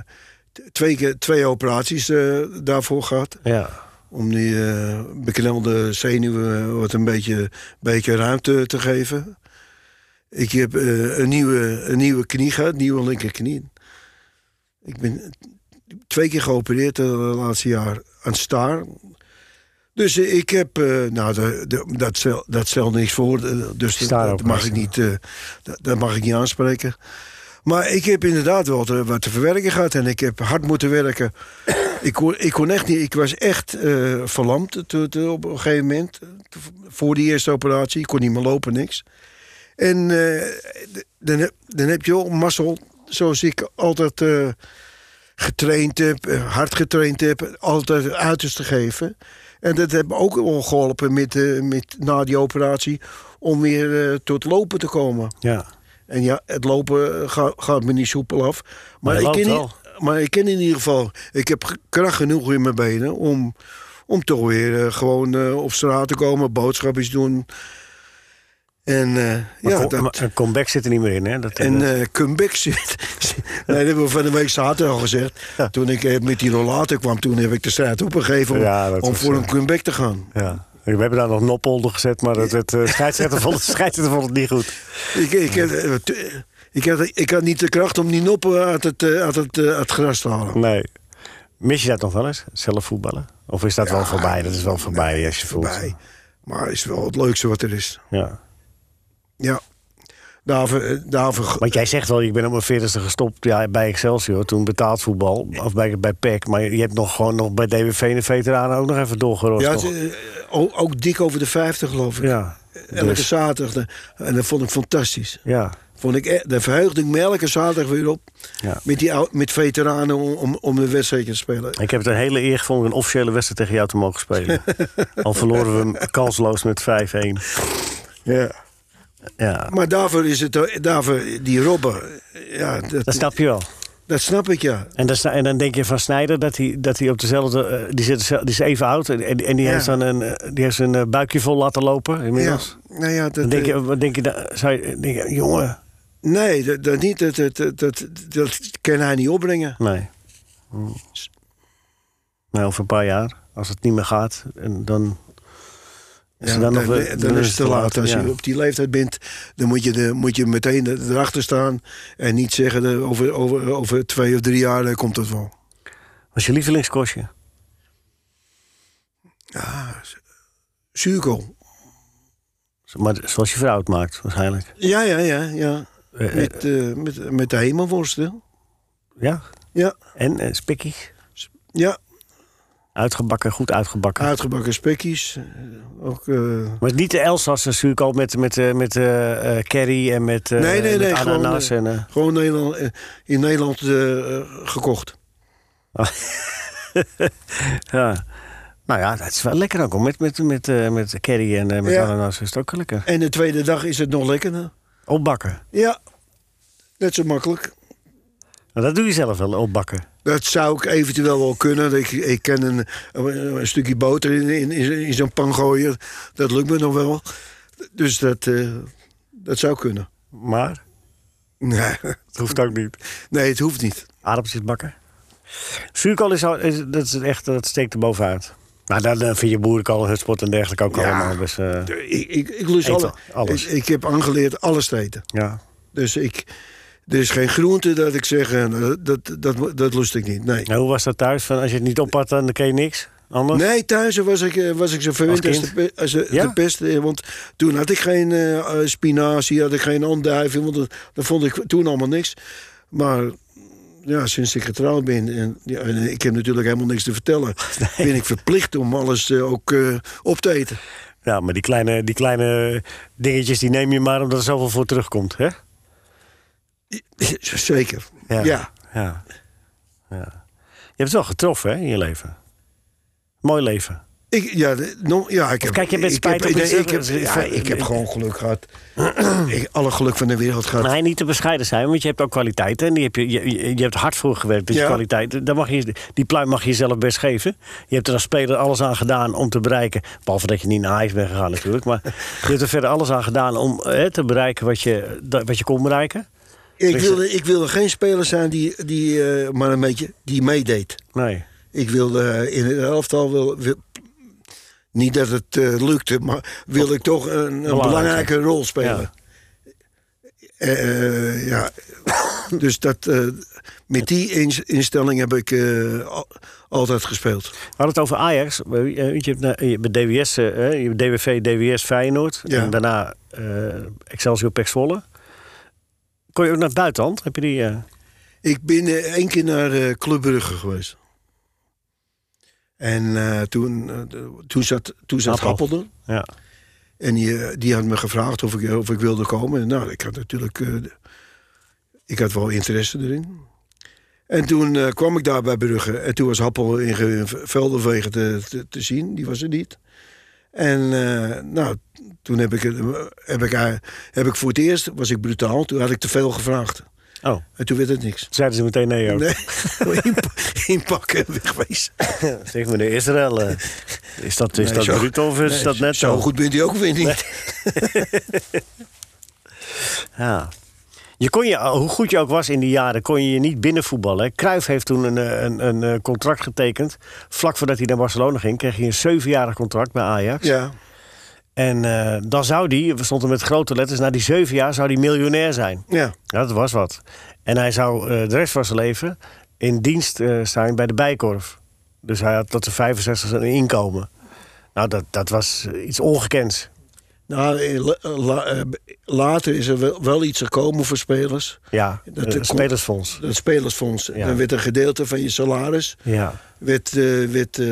Speaker 3: t- twee, keer- twee operaties eh, daarvoor gehad.
Speaker 2: ja.
Speaker 3: Om die eh, beknelde zenuwen eh, wat een beetje, beetje ruimte te geven. Ik heb eh, een, nieuwe, een nieuwe knie gehad, nieuwe linkerknie. Ik ben twee keer geopereerd het laatste jaar aan staar. Dus eh, ik heb, eh, nou, de- de- dat, stel, dat stelt niks voor. eh, Dus dat, dat
Speaker 2: Staaroperatie.
Speaker 3: mag ik niet, eh, dat, dat mag ik niet aanspreken. Maar ik heb inderdaad wel te- wat te verwerken gehad. En ik heb hard moeten werken. ik, kon, ik kon echt niet, ik was echt eh, verlamd to- to- op een gegeven moment. Voor die eerste operatie. Ik kon niet meer lopen, niks. En eh, d- dan, heb- dan heb je wel mazzel, zoals ik altijd eh, getraind heb, eh, hard getraind heb, altijd het uiterste geven. En dat heeft me ook wel geholpen met, eh, met, na die operatie om weer eh, tot lopen te komen.
Speaker 2: Ja,
Speaker 3: En ja, het lopen eh, ga- gaat me niet soepel af. Maar,
Speaker 2: je
Speaker 3: ik
Speaker 2: loopt
Speaker 3: ken niet-
Speaker 2: wel.
Speaker 3: maar ik ken in ieder geval... Ik heb g- kracht genoeg in mijn benen om, om toch weer eh, gewoon eh, op straat te komen. Boodschapjes doen. En eh,
Speaker 2: Maar
Speaker 3: ja,
Speaker 2: kom-
Speaker 3: dat,
Speaker 2: maar een comeback zit er niet meer in, hè? Dat,
Speaker 3: en
Speaker 2: dat-
Speaker 3: eh comeback zit. nee, dat hebben we van de week zaterdag al gezegd. Toen ik eh, met die rollator kwam, toen heb ik de straat opgegeven om,
Speaker 2: Ja, dat
Speaker 3: om
Speaker 2: was,
Speaker 3: voor
Speaker 2: eh,
Speaker 3: een comeback te gaan.
Speaker 2: ja. We hebben daar nog Noppolder gezet, maar dat, het eh, scheidsrechter vond het, scheidsrechter vond het niet goed.
Speaker 3: Ik, ik, had, eh, t- eh, ik, had, ik had niet de kracht om die noppen uit het, eh, uit het, eh, uit het gras te halen.
Speaker 2: Nee. Mis je dat nog wel eens, zelf voetballen? Of is dat wel voorbij? Dat is wel voorbij als je voelt.
Speaker 3: Bij. Maar het is wel het leukste wat er is.
Speaker 2: Ja.
Speaker 3: Ja. Daarvoor, eh, daarvoor
Speaker 2: Want jij zegt wel, ik ben op mijn veertigste gestopt ja, bij Excelsior. Toen betaald voetbal, of bij, bij PEC. Maar je hebt nog gewoon nog bij DWV en de veteranen ook nog even doorgerost.
Speaker 3: ja,
Speaker 2: toch?
Speaker 3: het, eh, ook, ook dik over de 50 geloof ik.
Speaker 2: ja.
Speaker 3: Elke
Speaker 2: Dus,
Speaker 3: zaterdag. eh, En dat vond ik fantastisch.
Speaker 2: ja.
Speaker 3: Vond ik, eh, daar verheugde ik me elke zaterdag weer op.
Speaker 2: Ja.
Speaker 3: Met, die, ou- met veteranen om, om, om de wedstrijd te spelen.
Speaker 2: Ik heb het een hele eer gevonden een officiële wedstrijd tegen jou te mogen spelen. Al verloren we hem kansloos met 5-1.
Speaker 3: Ja.
Speaker 2: Ja,
Speaker 3: Maar daarvoor is het, eh, daarvoor die Robben, eh, ja,
Speaker 2: dat
Speaker 3: dat,
Speaker 2: snap je wel.
Speaker 3: dat snap ik ja.
Speaker 2: En, dan sna- en dan denk je van Snijder dat hij, dat hij op dezelfde. eh, die, zit, zel- die is even oud en, en en die,
Speaker 3: Ja.
Speaker 2: heeft dan een, eh, die heeft zijn eh, buikje vol laten lopen
Speaker 3: ja.
Speaker 2: inmiddels.
Speaker 3: Nou ja,
Speaker 2: Dan
Speaker 3: dat,
Speaker 2: denk
Speaker 3: eh,
Speaker 2: je, wat denk je, dan, zou je denk je, jongen.
Speaker 3: nee, dat, dat niet, dat, dat, dat, dat, dat kan hij niet opbrengen.
Speaker 2: Nee. Hm. Nee, over een paar jaar, als het niet meer gaat, en dan. als
Speaker 3: Ja,
Speaker 2: je
Speaker 3: dan,
Speaker 2: nog-
Speaker 3: dan is het te laat. Als
Speaker 2: ja.
Speaker 3: je op die leeftijd bent, dan moet je, de, moet je meteen erachter staan. En niet zeggen, eh, over, over, over twee of drie jaar eh, komt het wel.
Speaker 2: Wat is je lievelingskostje?
Speaker 3: Zuurkool.
Speaker 2: Maar zoals je vrouw het maakt, waarschijnlijk.
Speaker 3: Ja, ja, ja. ja.
Speaker 2: Eh, eh,
Speaker 3: Met, eh, met, met de hemelworsten.
Speaker 2: ja?
Speaker 3: Ja,
Speaker 2: En eh, spikkies?
Speaker 3: ja.
Speaker 2: Uitgebakken, goed uitgebakken.
Speaker 3: Uitgebakken spekkies. eh, Ook, eh,
Speaker 2: Maar niet de Elsass natuurlijk al met, met, eh, met eh, eh, curry en met, eh,
Speaker 3: Nee, nee,
Speaker 2: met
Speaker 3: nee, gewoon,
Speaker 2: ananas.
Speaker 3: eh,
Speaker 2: en, eh,
Speaker 3: gewoon Nederland, eh, in Nederland eh, eh, gekocht.
Speaker 2: ja. Nou ja, dat is wel lekker ook. hoor. Met, met, met, eh, met curry en eh, met
Speaker 3: Ja.
Speaker 2: ananas is het ook lekker.
Speaker 3: En de tweede dag is het nog lekkerder.
Speaker 2: Opbakken.
Speaker 3: Ja, net zo makkelijk.
Speaker 2: Nou, dat doe je zelf wel, opbakken.
Speaker 3: Dat zou ik eventueel wel kunnen. Ik, ik ken een, een stukje boter in, in, in, in zo'n pan gooien. Dat lukt me nog wel. Dus dat, eh, dat zou kunnen.
Speaker 2: Maar
Speaker 3: Nee,
Speaker 2: het hoeft ook niet.
Speaker 3: nee, het hoeft niet.
Speaker 2: Aardappeltjes bakken. Zuurkool is, al- is- dat is echt, dat steekt er bovenuit. Maar dan eh, vind je boerenkool, hutspot en dergelijke ook
Speaker 3: Ja.
Speaker 2: allemaal. Dus, eh,
Speaker 3: Ik, ik, ik lust
Speaker 2: Eet
Speaker 3: alle,
Speaker 2: wel, alles.
Speaker 3: Ik, ik heb aangeleerd alles te eten.
Speaker 2: ja.
Speaker 3: Dus ik, er is geen groente dat ik zeg, eh, dat, dat, dat, dat lust ik niet. Nee,
Speaker 2: Nou, hoe was dat thuis? Van, als je het niet oppat, dan kreeg je niks anders?
Speaker 3: nee thuis was ik, eh, was ik zo
Speaker 2: Als
Speaker 3: verwend als,
Speaker 2: kind?
Speaker 3: de, pe- als de,
Speaker 2: Ja?
Speaker 3: de pest. eh, Want toen had ik geen eh, eh, spinazie, had ik geen andijvie. Want dat, dat vond ik toen allemaal niks. Maar ja, sinds ik getrouwd ben, en, ja, en ik heb natuurlijk helemaal niks te vertellen... ben ik verplicht om alles eh, ook eh, op te eten.
Speaker 2: Ja, maar die kleine, die kleine dingetjes die neem je maar omdat er zoveel voor terugkomt, hè?
Speaker 3: Zeker, ja.
Speaker 2: ja. Ja. Je hebt het wel getroffen, hè, in je leven. Mooi leven.
Speaker 3: Ik, ja, de- no- ja, ik heb,
Speaker 2: kijk je met
Speaker 3: ik
Speaker 2: spijt
Speaker 3: heb,
Speaker 2: op iets-
Speaker 3: nee, ik heb,
Speaker 2: eh,
Speaker 3: ja,
Speaker 2: van-
Speaker 3: ik heb
Speaker 2: eh,
Speaker 3: gewoon geluk gehad. ik, alle geluk van de wereld gehad.
Speaker 2: Maar niet te bescheiden zijn, want je hebt ook kwaliteiten. En die heb je, je, je- je hebt hard voor gewerkt. Dus
Speaker 3: Ja.
Speaker 2: je kwaliteit, daar mag je, die pluim mag je jezelf best geven. Je hebt er als speler alles aan gedaan om te bereiken. Behalve dat je niet naar Ajax bent gegaan natuurlijk. Maar je hebt er verder alles aan gedaan om hè, te bereiken wat je, dat- wat je kon bereiken.
Speaker 3: ik, wilde, ik wilde geen speler zijn die, die eh, maar een beetje die meedeed.
Speaker 2: Nee.
Speaker 3: Ik wilde eh, in het elftal... Wil, wil- niet dat het eh, lukte, maar wilde ik toch een, een
Speaker 2: Belangrijke.
Speaker 3: belangrijke rol spelen.
Speaker 2: Ja.
Speaker 3: Eh, eh, ja. dus dat, eh, met die ins- instelling heb ik eh, al- altijd gespeeld.
Speaker 2: We hadden het over Ajax. Eh, Je hebt na- je hebt bij DWS, eh, hè, je hebt DWV, DWS, Feyenoord.
Speaker 3: Ja.
Speaker 2: En daarna eh, Excelsior, PEC Zwolle. Kon je ook naar het buitenland? Heb je die... eh,
Speaker 3: Ik ben eh, één keer naar eh Club Brugge geweest. En eh, toen, eh, de- toen zat, toen zat
Speaker 2: Appel.
Speaker 3: Happel er.
Speaker 2: ja.
Speaker 3: En die, eh, die had me gevraagd of ik, eh, of ik wilde komen. En nou, ik had natuurlijk... eh, ik had wel interesse erin. En toen eh, kwam ik daar bij Brugge. En toen was Happel in Ge- Veldervegen te, te, te zien. Die was er niet. En eh, nou, eh, toen heb ik, het- heb, ik, haar- heb ik voor het eerst... was ik brutaal. Toen had ik te veel gevraagd.
Speaker 2: Oh,
Speaker 3: En toen werd het niks.
Speaker 2: zeiden ze meteen nee ook.
Speaker 3: Nee, Inp- inpakken en wegwezen.
Speaker 2: Zeg meneer Israël, eh, is dat, is
Speaker 3: Nee,
Speaker 2: dat
Speaker 3: zo-
Speaker 2: bruto of is
Speaker 3: Nee,
Speaker 2: dat net zo?
Speaker 3: Zo goed bent u ook weer niet.
Speaker 2: Ja. Je kon je, hoe goed je ook was in die jaren, kon je je niet binnenvoetballen. hè. Cruijff heeft toen een, eh, een, een eh, contract getekend. Vlak voordat hij naar Barcelona ging, kreeg hij een zevenjarig contract bij Ajax.
Speaker 3: Ja.
Speaker 2: En eh, dan zou die, we stonden met grote letters, na die zeven jaar zou hij miljonair zijn.
Speaker 3: ja.
Speaker 2: Ja, dat was wat. En hij zou eh, de rest van zijn leven in dienst eh, zijn bij de Bijkorf. Dus hij had tot de 65 zijn inkomen. Nou, dat, dat was eh, iets ongekends.
Speaker 3: Nou, eh, la- la- eh, later is er wel, wel iets gekomen voor spelers.
Speaker 2: Ja,
Speaker 3: Dat
Speaker 2: eh,
Speaker 3: kon-
Speaker 2: spelersfonds.
Speaker 3: Dat spelersfonds.
Speaker 2: Ja.
Speaker 3: Dan werd een gedeelte van je salaris
Speaker 2: Ja.
Speaker 3: werd, eh, werd, eh,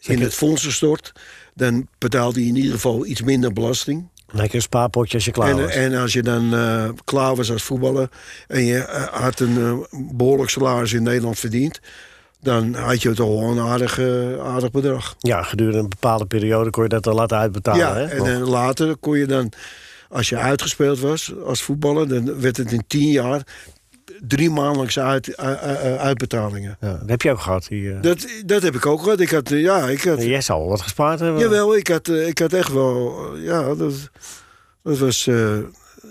Speaker 3: in het fonds gestort. Dan betaalde je in ieder geval iets minder belasting.
Speaker 2: Lekker een spaarpotje als je klaar
Speaker 3: En,
Speaker 2: Ah, was.
Speaker 3: en als je dan eh, klaar was als voetballer en je eh, had een eh, behoorlijk salaris in Nederland verdiend, dan had je toch wel een aardig, eh, aardig bedrag.
Speaker 2: Ja, gedurende een bepaalde periode kon je dat dan laten uitbetalen.
Speaker 3: ja,
Speaker 2: hè?
Speaker 3: en
Speaker 2: Nog.
Speaker 3: eh, later kon je dan, als je uitgespeeld was als voetballer, dan werd het in tien jaar drie maandelijkse uit, eh, eh, eh, uitbetalingen.
Speaker 2: ja, dat heb je ook gehad. Die, eh
Speaker 3: Dat, dat heb ik ook gehad. Ik had, eh, ja, ik had,
Speaker 2: Jij zou al wat gespaard hebben.
Speaker 3: jawel, ik had, eh, ik had echt wel, eh, ja, dat, dat was eh,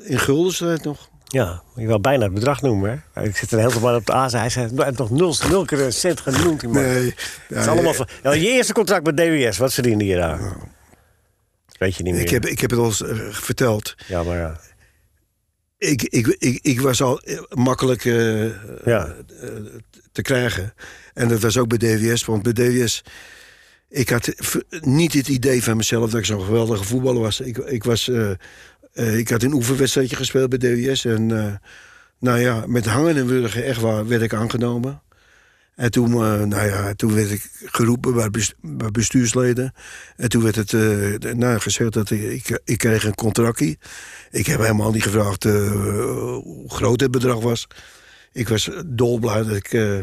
Speaker 3: in guldens tijd nog.
Speaker 2: Ja, moet je wel bijna het bedrag noemen. Hè? Ik zit er heel veel op de aas. Hij zei, hij heeft nog nul, nul keer een cent genoemd. die man.
Speaker 3: Nee, eh,
Speaker 2: Het is
Speaker 3: ja,
Speaker 2: allemaal van, ja, je eerste contract met DWS, wat verdiende je daar? Weet je niet meer.
Speaker 3: Nou. Ik heb, ik heb het al eens eh, verteld.
Speaker 2: Ja, maar ja.
Speaker 3: Ik, ik, ik, ik was al eh, makkelijk eh,
Speaker 2: ja.
Speaker 3: te krijgen. En dat was ook bij DWS. Want bij DWS... Ik had v- niet het idee van mezelf dat ik zo'n geweldige voetballer was. Ik, ik, was eh, eh, ik had een oefenwedstrijdje gespeeld bij DWS. En eh, nou ja, met hangen en wurgen echt waar werd ik aangenomen. En toen, eh, nou ja, toen werd ik geroepen bij, bes- bij bestuursleden. En toen werd het eh, d- nou, gezegd dat ik, ik, ik kreeg een contractie. Ik heb helemaal niet gevraagd eh, hoe groot het bedrag was. Ik was dolblij dat ik, eh,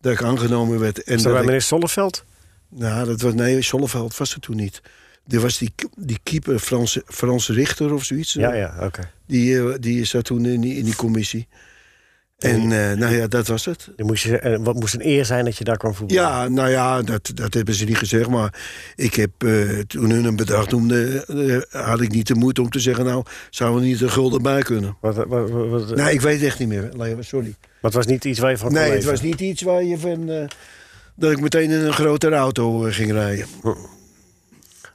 Speaker 3: dat ik aangenomen werd. En
Speaker 2: Is dat
Speaker 3: dat
Speaker 2: bij
Speaker 3: ik-
Speaker 2: meneer Solleveld?
Speaker 3: nou, dat was, nee, Zonneveld was het toen niet. Er was die, die keeper, Frans, Frans Richter of zoiets.
Speaker 2: Ja, ja, oké.
Speaker 3: Die, eh, die zat toen in die, in die commissie. En eh, nou ja, dat was het.
Speaker 2: Dan moest je, eh, wat moest een eer zijn dat je daar kwam voetballen?
Speaker 3: Ja, nou ja, dat, dat hebben ze niet gezegd. Maar ik heb, eh, toen hun een bedrag noemde, eh, had ik niet de moed om te zeggen... nou, zouden we niet een gulden bij kunnen?
Speaker 2: Wat, wat, wat, wat-
Speaker 3: Nee, ik weet het echt niet meer, Leo, sorry.
Speaker 2: wat was niet iets waar je van kon
Speaker 3: Nee, het
Speaker 2: leven?
Speaker 3: was niet iets waar je van... eh, dat ik meteen in een grotere auto eh, ging rijden.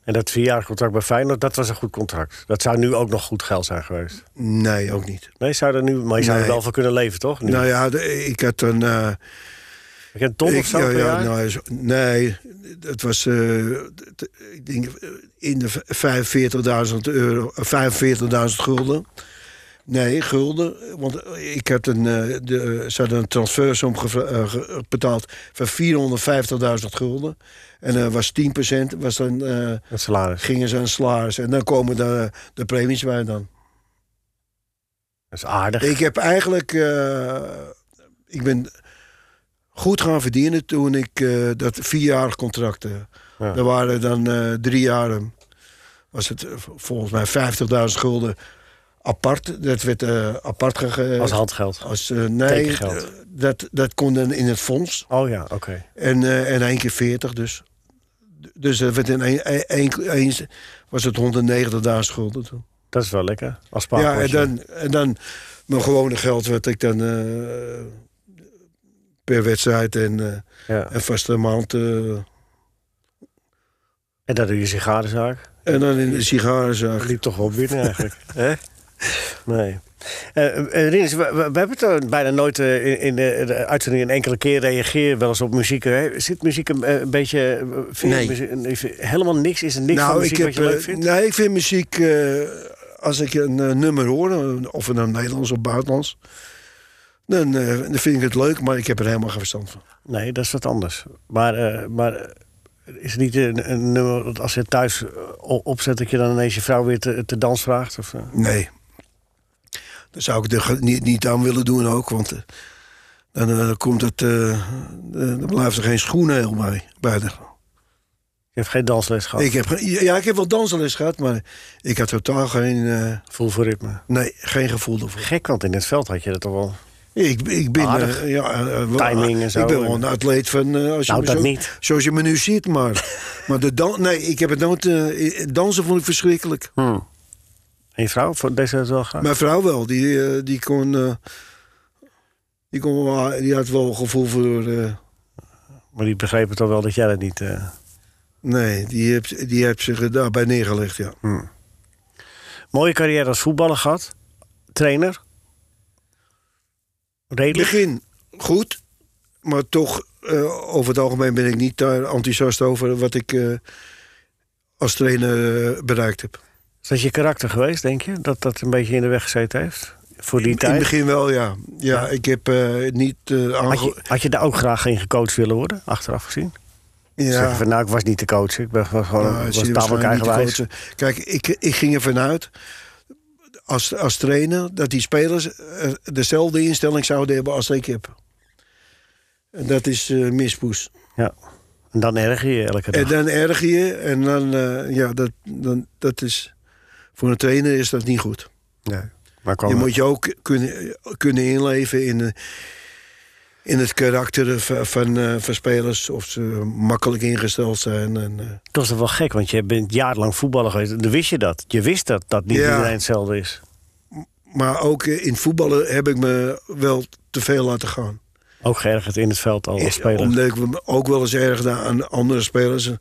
Speaker 2: En dat vierjarig contract bij Feyenoord, dat was een goed contract. Dat zou nu ook nog goed geld zijn geweest.
Speaker 3: Nee, ook niet.
Speaker 2: Nee, zou er nu, maar je zou er
Speaker 3: Nee.
Speaker 2: wel voor kunnen leven, toch? Nu.
Speaker 3: Nou ja, de- ik had een... eh,
Speaker 2: ik heb ton
Speaker 3: Ik-
Speaker 2: of zo
Speaker 3: ja,
Speaker 2: per
Speaker 3: ja,
Speaker 2: jaar?
Speaker 3: nou, zo- nee, het was eh, d- ik denk eh, in de v- 45.000 euro, eh, 45.000 gulden. Nee, gulden, want ik had een, eh, de, ze hadden een transfersom gevra- eh, ge- betaald van 450.000 gulden. En dat was 10%, was dan, eh,
Speaker 2: Het salaris.
Speaker 3: gingen ze aan salaris. En dan komen de, de premies bij dan.
Speaker 2: Dat is aardig.
Speaker 3: Ik heb eigenlijk. eh, ik ben goed gaan verdienen toen ik eh, dat vierjarig contract. eh,
Speaker 2: Ja.
Speaker 3: Daar waren dan eh, drie jaren. Was het eh, volgens mij 50.000 gulden apart. Dat werd eh, apart gegeven.
Speaker 2: Als handgeld.
Speaker 3: Als, eh, nee,
Speaker 2: Tekengeld.
Speaker 3: eh, dat, dat kon dan in het fonds.
Speaker 2: Oh ja, oké.
Speaker 3: En, eh, en één keer 40 dus. Dus dat werd in één, één- één- één- was het 190 schulden toen.
Speaker 2: Dat is wel lekker. Als
Speaker 3: Ja, en
Speaker 2: spaarpotje.
Speaker 3: dan, en dan mijn gewone geld wat ik dan eh, per wedstrijd en, eh,
Speaker 2: Ja.
Speaker 3: en vaste maand... eh,
Speaker 2: En dan doe je sigarenzaak.
Speaker 3: en dan in de sigarenzaak.
Speaker 2: Dat liep toch wel binnen eigenlijk. Hè? Nee. Eh eh, Rinus, we, we- we hebben het er bijna nooit eh, in, in de, de uitzending een enkele keer reageer wel eens op muziek. Hè? Zit muziek een, eh, een beetje... eh, vind je
Speaker 3: Nee.
Speaker 2: muziek- eh, vind- helemaal niks? Is er niks van muziek wat je
Speaker 3: eh,
Speaker 2: leuk vindt?
Speaker 3: nee, ik vind muziek... eh, als ik een eh, nummer hoor, eh, of het nou Nederlands of buitenlands... Dan, eh, dan vind ik het leuk, maar ik heb er helemaal geen verstand van.
Speaker 2: Nee, dat is wat anders. Maar, eh, maar eh, is het niet een, een nummer dat als je het thuis eh, o- opzet... dat je dan ineens je vrouw weer te, te dans vraagt? Of, eh?
Speaker 3: Nee. Daar zou ik er ge- niet, niet aan willen doen ook, want... eh, dan, eh, dan komt het, eh, eh, dan blijft er geen schoenheel bij, bij de,
Speaker 2: Je hebt geen dansles gehad?
Speaker 3: Ik heb, ge- ja, ik heb wel dansles gehad, maar ik had totaal geen, eh,
Speaker 2: Voel voor ritme.
Speaker 3: nee, geen gevoel ervoor.
Speaker 2: Gek, want in het veld had je dat toch wel.
Speaker 3: Ik, ik ben...
Speaker 2: Aardig.
Speaker 3: eh, ja, eh, wel-
Speaker 2: Timing en zo.
Speaker 3: Ik ben wel een atleet van... eh, als je
Speaker 2: Nou,
Speaker 3: me
Speaker 2: dat
Speaker 3: zo-
Speaker 2: niet.
Speaker 3: Zoals je me nu ziet, maar... maar de dan, nee, ik heb het nooit... eh, dansen vond ik verschrikkelijk.
Speaker 2: Hmm. En je vrouw vond deze het wel graag?
Speaker 3: Mijn vrouw wel, die, eh, die kon... eh, die, kon wel- die had wel gevoel voor... eh,
Speaker 2: Maar die begreep het al wel dat jij dat niet... eh,
Speaker 3: nee, die heeft, die heeft zich er daarbij neergelegd, ja.
Speaker 2: Mooie carrière als voetballer gehad. Trainer. Redelijk.
Speaker 3: Begin goed, maar toch eh, over het algemeen ben ik niet daar enthousiast over wat ik eh, als trainer eh, bereikt heb.
Speaker 2: Is dat je karakter geweest, denk je? Dat dat een beetje in de weg gezeten heeft? Voor die
Speaker 3: In het
Speaker 2: tijd.
Speaker 3: begin wel, ja. Ja, ik heb eh, niet eh
Speaker 2: Had
Speaker 3: aange...
Speaker 2: je, had je daar ook graag in gecoacht willen worden, achteraf gezien? Zeggen
Speaker 3: Ja,
Speaker 2: van, nou, ik was niet de coach. Ik ben gewoon
Speaker 3: nou,
Speaker 2: was
Speaker 3: zie je
Speaker 2: tamelijk
Speaker 3: waarschijnlijk niet
Speaker 2: eigenwijs.
Speaker 3: te coachen. Kijk, ik, ik ging ervan uit als, als trainer dat die spelers eh, dezelfde instelling zouden hebben als ik heb. En dat is eh, mispoes.
Speaker 2: Ja. En dan erger je je elke dag.
Speaker 3: En dan erger je en dan, eh, ja, dat, dan, dat is, voor een trainer is dat niet goed.
Speaker 2: Nee. Maar
Speaker 3: Je
Speaker 2: kwam,
Speaker 3: moet je ook kunnen, kunnen inleven in, eh, in het karakter van, van, eh, van spelers, of ze makkelijk ingesteld zijn. En, eh,
Speaker 2: Dat is toch wel gek, want je bent jarenlang voetballer geweest. Dan wist je dat. Je wist dat, dat niet
Speaker 3: Ja.
Speaker 2: iedereen hetzelfde is.
Speaker 3: maar ook eh, in voetballen heb ik me wel te veel laten gaan.
Speaker 2: Ook geërgerd in het veld al als speler.
Speaker 3: Omdat ik me ook wel eens erg aan andere spelers. eh,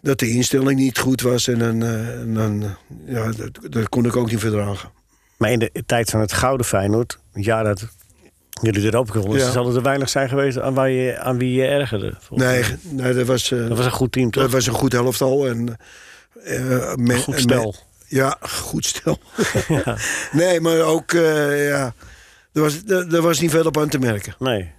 Speaker 3: Dat de instelling niet goed was. En dan, eh, en dan eh, ja, dat, dat kon ik ook niet verdragen.
Speaker 2: Maar in de tijd van het Gouden Feyenoord, het jaar dat jullie de Europa Cup wonnen,
Speaker 3: Ja.
Speaker 2: zal het er weinig zijn geweest aan, waar je, aan wie je ergerde. volgens
Speaker 3: Nee,
Speaker 2: mij.
Speaker 3: nee dat, was, eh,
Speaker 2: Dat was een goed team, toch?
Speaker 3: dat was een goed helftal. En, eh, me-
Speaker 2: Goed
Speaker 3: me-
Speaker 2: spel.
Speaker 3: Ja, goed stel. Nee, maar ook, eh, ja, er was, er, er was niet veel op aan te merken.
Speaker 2: Nee.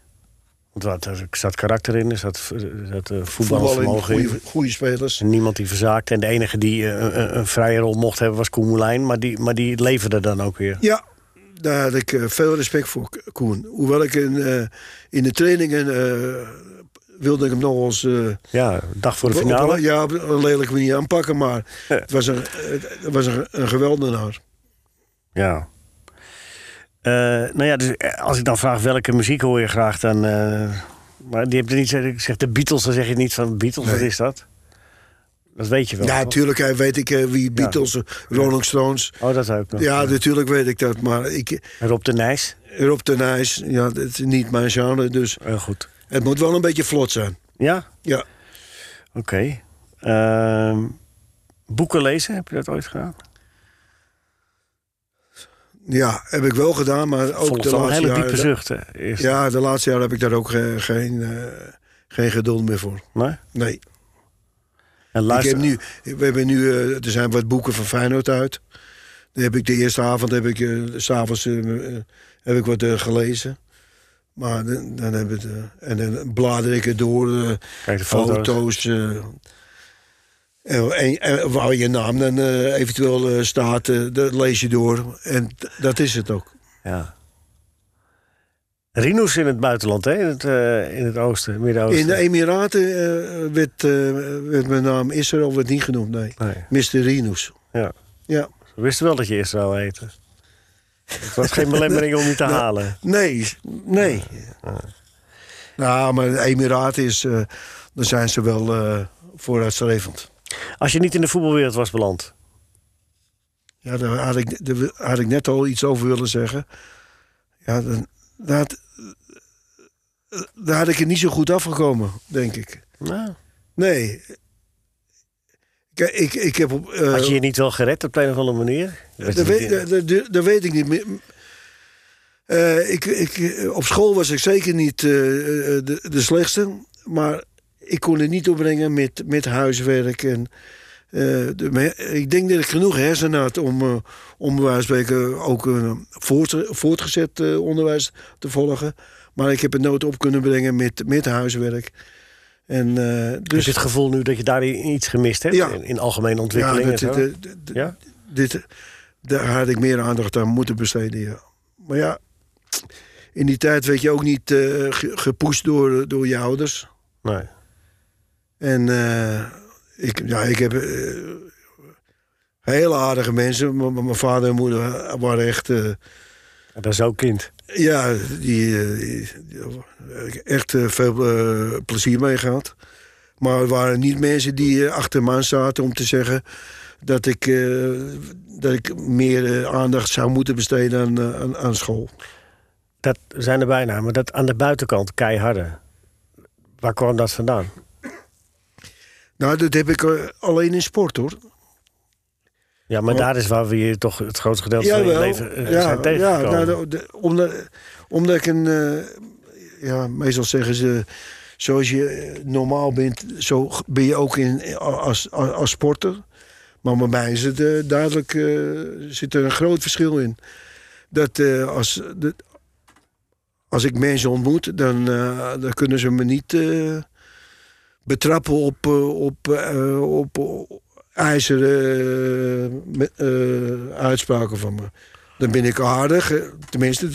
Speaker 2: Want er zat karakter in, er zat, er zat eh,
Speaker 3: Voetbal
Speaker 2: voetbalvermogen in.
Speaker 3: in goede spelers.
Speaker 2: En niemand die verzaakte. En de enige die eh, een- een, een vrije rol mocht hebben was Koen Moulijn. Maar die, maar die leverde dan ook weer.
Speaker 3: Ja, daar had ik eh, veel respect voor, K- Koen. Hoewel ik in, eh, in de trainingen eh, wilde ik hem nog eens... eh,
Speaker 2: Ja, dag voor de
Speaker 3: op- op-
Speaker 2: finale.
Speaker 3: ja, op een lelijke manier aanpakken, maar
Speaker 2: Ja.
Speaker 3: het was een, eh, het was een, een geweldenaar.
Speaker 2: Ja. Eh, nou ja, dus eh, als ik dan vraag welke muziek hoor je graag, dan. eh, maar die heb je niet. Ik zeg de Beatles, dan zeg je niet van Beatles, wat
Speaker 3: Nee.
Speaker 2: is dat? Dat weet je wel.
Speaker 3: Ja,
Speaker 2: toch?
Speaker 3: natuurlijk eh, weet ik eh, wie Beatles, Rolling Stones.
Speaker 2: Oh, dat ook nog.
Speaker 3: Ja, dus- natuurlijk weet ik dat, maar ik,
Speaker 2: Rob de Nijs.
Speaker 3: Rob ten IJs, ja, dat is niet mijn genre, dus
Speaker 2: Heel goed.
Speaker 3: het moet wel een beetje vlot zijn.
Speaker 2: Ja,
Speaker 3: Ja,
Speaker 2: oké. Ehm, boeken lezen, heb je dat ooit gedaan?
Speaker 3: ja, heb ik wel gedaan, maar ook
Speaker 2: Volgens
Speaker 3: de
Speaker 2: al een
Speaker 3: laatste
Speaker 2: hele
Speaker 3: jaren.
Speaker 2: diepe zuchten. Eerst.
Speaker 3: Ja, de laatste jaren heb ik daar ook eh, geen, eh, geen geduld meer voor.
Speaker 2: Nee?
Speaker 3: Nee.
Speaker 2: En
Speaker 3: Ik
Speaker 2: luister.
Speaker 3: heb nu, we hebben nu, eh, er zijn wat boeken van Feyenoord uit. Dan heb ik de eerste avond, heb ik, eh, s s'avonds eh, eh, heb ik wat eh, gelezen. Maar dan, dan heb ik, het, eh, en dan blader ik het door, eh,
Speaker 2: Kijk, de foto's.
Speaker 3: foto's. eh, en, en, en waar je naam dan eh, eventueel eh, staat, eh, dat lees je door. En d- dat is het ook.
Speaker 2: Ja. Rino's in het buitenland, hè? In het, eh, in het oosten, Midden-Oosten.
Speaker 3: In de Emiraten eh, werd, eh, werd mijn naam Israël werd niet genoemd, nee.
Speaker 2: Nee.
Speaker 3: Mr. Rinus.
Speaker 2: Ja.
Speaker 3: Ja.
Speaker 2: We wisten wel dat je Israël heette. Het was geen belemmering om je
Speaker 3: Nou,
Speaker 2: te halen.
Speaker 3: Nee, nee. Nou, maar de Emiraten is, eh daar zijn ze wel eh, vooruitstrevend.
Speaker 2: Als je niet in de voetbalwereld was beland.
Speaker 3: Ja, daar had, ik, daar had ik net al iets over willen zeggen. Ja, dan, daar, had, daar had ik er niet zo goed afgekomen, denk ik.
Speaker 2: Nou,
Speaker 3: Nee. Kijk, ik, ik heb op... eh,
Speaker 2: had je je niet wel gered op de een of andere manier?
Speaker 3: Dat, weet,
Speaker 2: eh,
Speaker 3: eh, dat- dat- dat weet ik niet meer. Eh, ik, ik, op school was ik zeker niet eh, eh, de, de slechtste. Maar ik kon het niet opbrengen met, met huiswerk. En, eh, de me- ik denk dat ik genoeg hersenen had om, eh, om bij wijze van spreken ook een voort- voortgezet eh, onderwijs te volgen. Maar ik heb het nooit op kunnen brengen met, met huiswerk. En, eh,
Speaker 2: Dus
Speaker 3: dus,
Speaker 2: het gevoel nu dat je daarin iets gemist hebt?
Speaker 3: Ja.
Speaker 2: In, in algemene ontwikkeling
Speaker 3: dat- eh,
Speaker 2: en zo?
Speaker 3: dat- dat- dat-
Speaker 2: ja?
Speaker 3: dit, daar had ik meer aandacht aan moeten besteden. ja. Maar ja, in die tijd werd je ook niet eh, ge- gepoest door, door je ouders.
Speaker 2: Nee.
Speaker 3: En eh, ik, ja, ik heb eh, hele aardige mensen. M- m- Mijn vader en moeder waren echt eh,
Speaker 2: Dat is ook kind.
Speaker 3: Ja, die, eh, echt eh, veel eh, plezier mee gehad. Maar er waren niet mensen die eh, achter me aan zaten om te zeggen dat ik, eh, dat ik meer eh, aandacht zou moeten besteden aan, eh, aan, aan school.
Speaker 2: Dat zijn de bijnamen. Dat aan de buitenkant keiharde. Waar kwam dat vandaan?
Speaker 3: Nou, dat heb ik eh, alleen in sport hoor.
Speaker 2: Ja, maar
Speaker 3: Oh.
Speaker 2: daar is waar we je toch het grootste gedeelte van je
Speaker 3: Jawel,
Speaker 2: leven eh, zijn tegengekomen.
Speaker 3: nou, de- de- omdat, omdat ik een... eh, ja, meestal zeggen ze... Zoals je eh, normaal bent, zo g- ben je ook in, eh, als, als, als sporter. Maar bij mij is het, eh, duidelijk, eh, zit er een groot verschil in. Dat eh, als, de, als ik mensen ontmoet, dan, eh, dan kunnen ze me niet eh, betrappen op, eh, op, eh, op, op ijzeren eh, me- eh, uitspraken van me. Dan ben ik aardig. eh, Tenminste,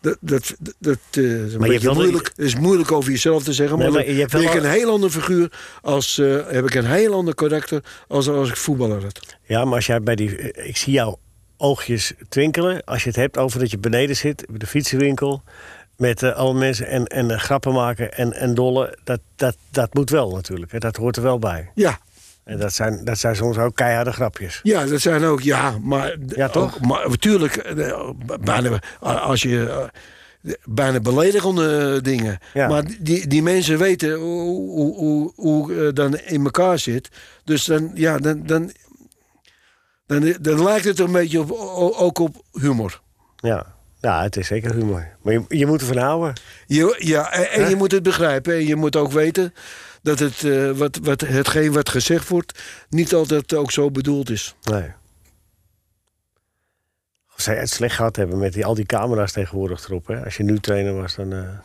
Speaker 3: dat, dat, dat, dat eh, is een
Speaker 2: hebt
Speaker 3: beetje
Speaker 2: wel een-
Speaker 3: moeilijk. Het is moeilijk over jezelf te zeggen.
Speaker 2: Nee,
Speaker 3: Maar,
Speaker 2: maar
Speaker 3: dan
Speaker 2: je hebt
Speaker 3: ben
Speaker 2: wel
Speaker 3: ik
Speaker 2: al-
Speaker 3: een heel ander figuur. Als, eh, heb ik een heel ander karakter als als ik voetballer had.
Speaker 2: Ja, maar als jij bij die. eh, Ik zie jouw oogjes twinkelen. Als je het hebt over dat je beneden zit, bij de fietsenwinkel. Met eh, alle mensen en, en eh, grappen maken en, en dollen. Dat, dat, dat moet wel natuurlijk. Hè. Dat hoort er wel bij.
Speaker 3: Ja,
Speaker 2: En dat zijn, dat zijn soms ook keiharde grapjes.
Speaker 3: Ja, dat zijn ook, ja, maar...
Speaker 2: Ja, toch?
Speaker 3: ook- maar natuurlijk, eh, bijna, als je... eh, Bijna beledigende dingen.
Speaker 2: Ja.
Speaker 3: Maar die, die mensen weten hoe, hoe, hoe, hoe eh, dan in elkaar zit. Dus dan, ja, dan, dan, dan, dan lijkt het een beetje op, o- ook op humor.
Speaker 2: Ja, ja het is zeker humor. Maar je, je moet ervan houden.
Speaker 3: Je, ja, en, en je moet het begrijpen. En je moet ook weten dat het, eh, wat, wat, hetgeen wat gezegd wordt... niet altijd ook zo bedoeld is.
Speaker 2: Nee. Of zij het slecht gehad hebben met die, al die camera's tegenwoordig erop. Hè? Als je nu trainer was, dan. eh,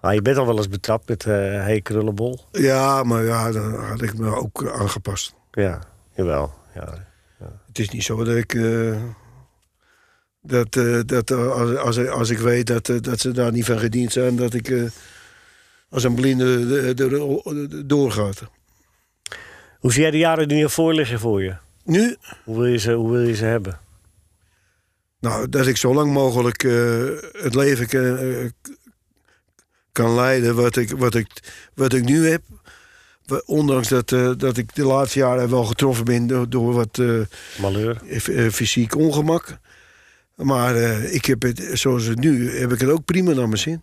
Speaker 2: Ah, je bent al wel eens betrapt met eh hey krullenbol.
Speaker 3: Ja, maar ja, dan had ik me ook eh, aangepast.
Speaker 2: Ja, jawel. Ja.
Speaker 3: Het is niet zo dat ik. eh, dat eh, dat eh, als, als, als ik weet dat, eh, dat ze daar niet van gediend zijn, dat ik eh, als een blinde eh, er- er- doorgaat.
Speaker 2: Hoe zie jij de jaren die ervoor liggen voor je?
Speaker 3: Nu?
Speaker 2: Hoe wil je ze, hoe wil je ze hebben?
Speaker 3: Nou, dat ik zo lang mogelijk eh, het leven kan, eh, kan leiden wat ik, wat, ik, wat ik nu heb. Wa- Ondanks dat, eh, dat ik de laatste jaren wel getroffen ben door, door wat. eh,
Speaker 2: Malheur.
Speaker 3: f- eh, fysiek ongemak. Maar eh, ik heb het, zoals het nu, heb ik het ook prima naar mijn zin.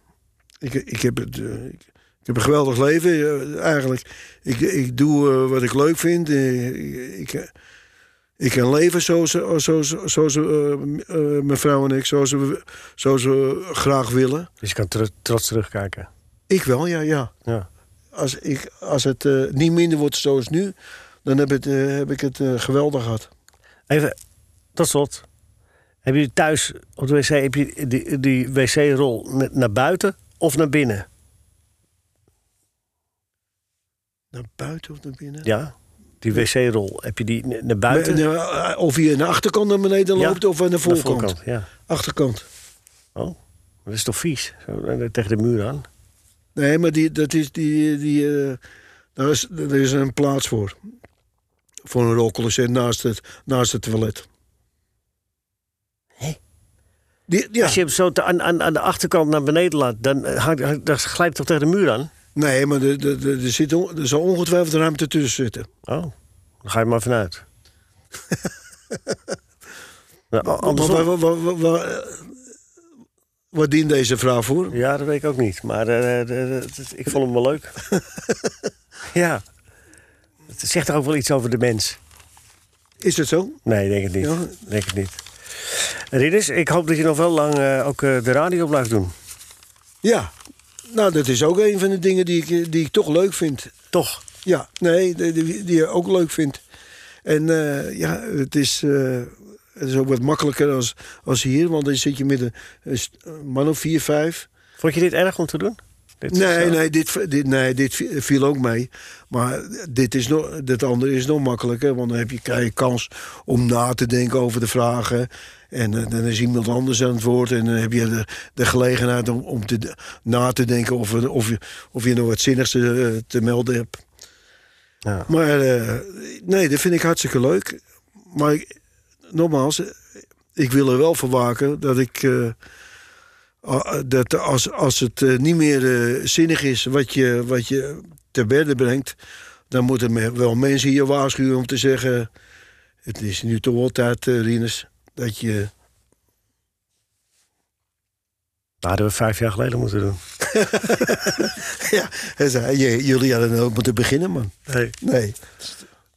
Speaker 3: Ik, ik, heb, het, eh, ik, ik heb een geweldig leven eh, eigenlijk. Ik, ik doe eh, wat ik leuk vind. Eh, ik, ik, ik kan leven zoals, zoals, zoals eh, m- eh, mijn vrouw en ik, zoals we, zoals we graag willen.
Speaker 2: Dus je kan tr- trots terugkijken.
Speaker 3: Ik wel, ja, ja.
Speaker 2: Ja.
Speaker 3: Als, ik, als het eh, niet minder wordt zoals nu, dan heb, het, eh, heb ik het eh, geweldig gehad.
Speaker 2: Even, tot slot. Hebben jullie thuis op de wc heb je die, die wc-rol na- naar buiten of naar binnen?
Speaker 3: Naar buiten of naar binnen?
Speaker 2: Ja. Die wc-rol, heb je die n- naar buiten?
Speaker 3: Maar, nou, Of je aan de achterkant naar beneden
Speaker 2: Ja,
Speaker 3: loopt of aan de
Speaker 2: Naar de
Speaker 3: voorkant.
Speaker 2: Ja.
Speaker 3: Achterkant.
Speaker 2: Oh, dat is toch vies? Zo, eh, tegen de muur aan.
Speaker 3: Nee, maar die, dat is die, die, eh, daar, is, daar is een plaats voor. Voor een rolcolosset naast het, naast het toilet.
Speaker 2: Hé?
Speaker 3: Die, ja.
Speaker 2: Als je hem zo te- aan, aan, aan de achterkant naar beneden laat, dan, eh, hangt- hangt- dan glijpt toch tegen de muur aan?
Speaker 3: Nee, maar er, er, er, er zit on- er zal ongetwijfeld ruimte tussen zitten.
Speaker 2: Oh, dan ga je maar vanuit. nou, a-
Speaker 3: Maar
Speaker 2: andersom-
Speaker 3: waar- waar- waar- waar- waar, eh, wat dient deze vraag voor?
Speaker 2: Ja, dat weet ik ook niet. Maar eh, eh, eh, het- het- ik vond hem wel leuk. ja. Het zegt toch ook wel iets over de mens?
Speaker 3: Is het zo?
Speaker 2: Nee, ik denk het niet.
Speaker 3: Ja.
Speaker 2: Ik Denk het niet. Ridders, ik hoop dat je nog wel lang eh, ook eh, de radio blijft doen.
Speaker 3: Ja. Nou, dat is ook een van de dingen die ik, eh, die ik toch leuk vind.
Speaker 2: Toch?
Speaker 3: Ja, nee, die, die, die je ook leuk vindt. En eh, ja, het is, eh, het is ook wat makkelijker als, als hier, want dan zit je met een, een st- een man of vier, vijf.
Speaker 2: Vond je dit erg om te doen? Dit is,
Speaker 3: Nee,
Speaker 2: eh,
Speaker 3: nee, dit, v- dit, nee, dit vi- viel ook mee. Maar dit, is nog, dit andere is nog makkelijker, want dan heb je, krijg je kans om na te denken over de vragen. En eh, dan is iemand anders aan het woord. En dan heb je de, de gelegenheid om, om te, de- na te denken of, er- of, je, of je nog wat zinnigs te, eh, te melden hebt.
Speaker 2: Ja.
Speaker 3: Maar eh, nee, dat vind ik hartstikke leuk. Maar ik- nogmaals, eh, ik wil er wel voor waken dat ik. eh, a- dat als, als het eh, niet meer eh, zinnig is wat je, wat je te berden brengt. dan moeten me- wel mensen je waarschuwen om te zeggen. Het is nu toch wel tijd, eh, Rinus, dat je.
Speaker 2: Dat hadden we vijf jaar geleden moeten doen.
Speaker 3: Ja, hij zei, "J- jullie hadden ook moeten beginnen, man.
Speaker 2: Nee,
Speaker 3: Nee.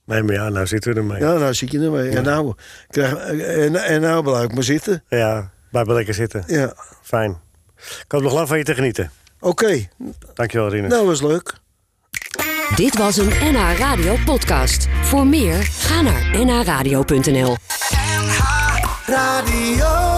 Speaker 2: nee maar ja, nou zitten we ermee. Ja,
Speaker 3: Nou, nou zit je ermee. En, nou, krijg, en, en nou blijf ik maar zitten.
Speaker 2: blijf maar lekker zitten.
Speaker 3: Ja.
Speaker 2: Fijn. Ik had nog lang van je te genieten.
Speaker 3: Oké,
Speaker 2: Dankjewel, Rinus.
Speaker 3: nou was leuk.
Speaker 1: Dit was een NH Radio podcast. Voor meer, ga naar nhradio.nl.
Speaker 4: NH Radio.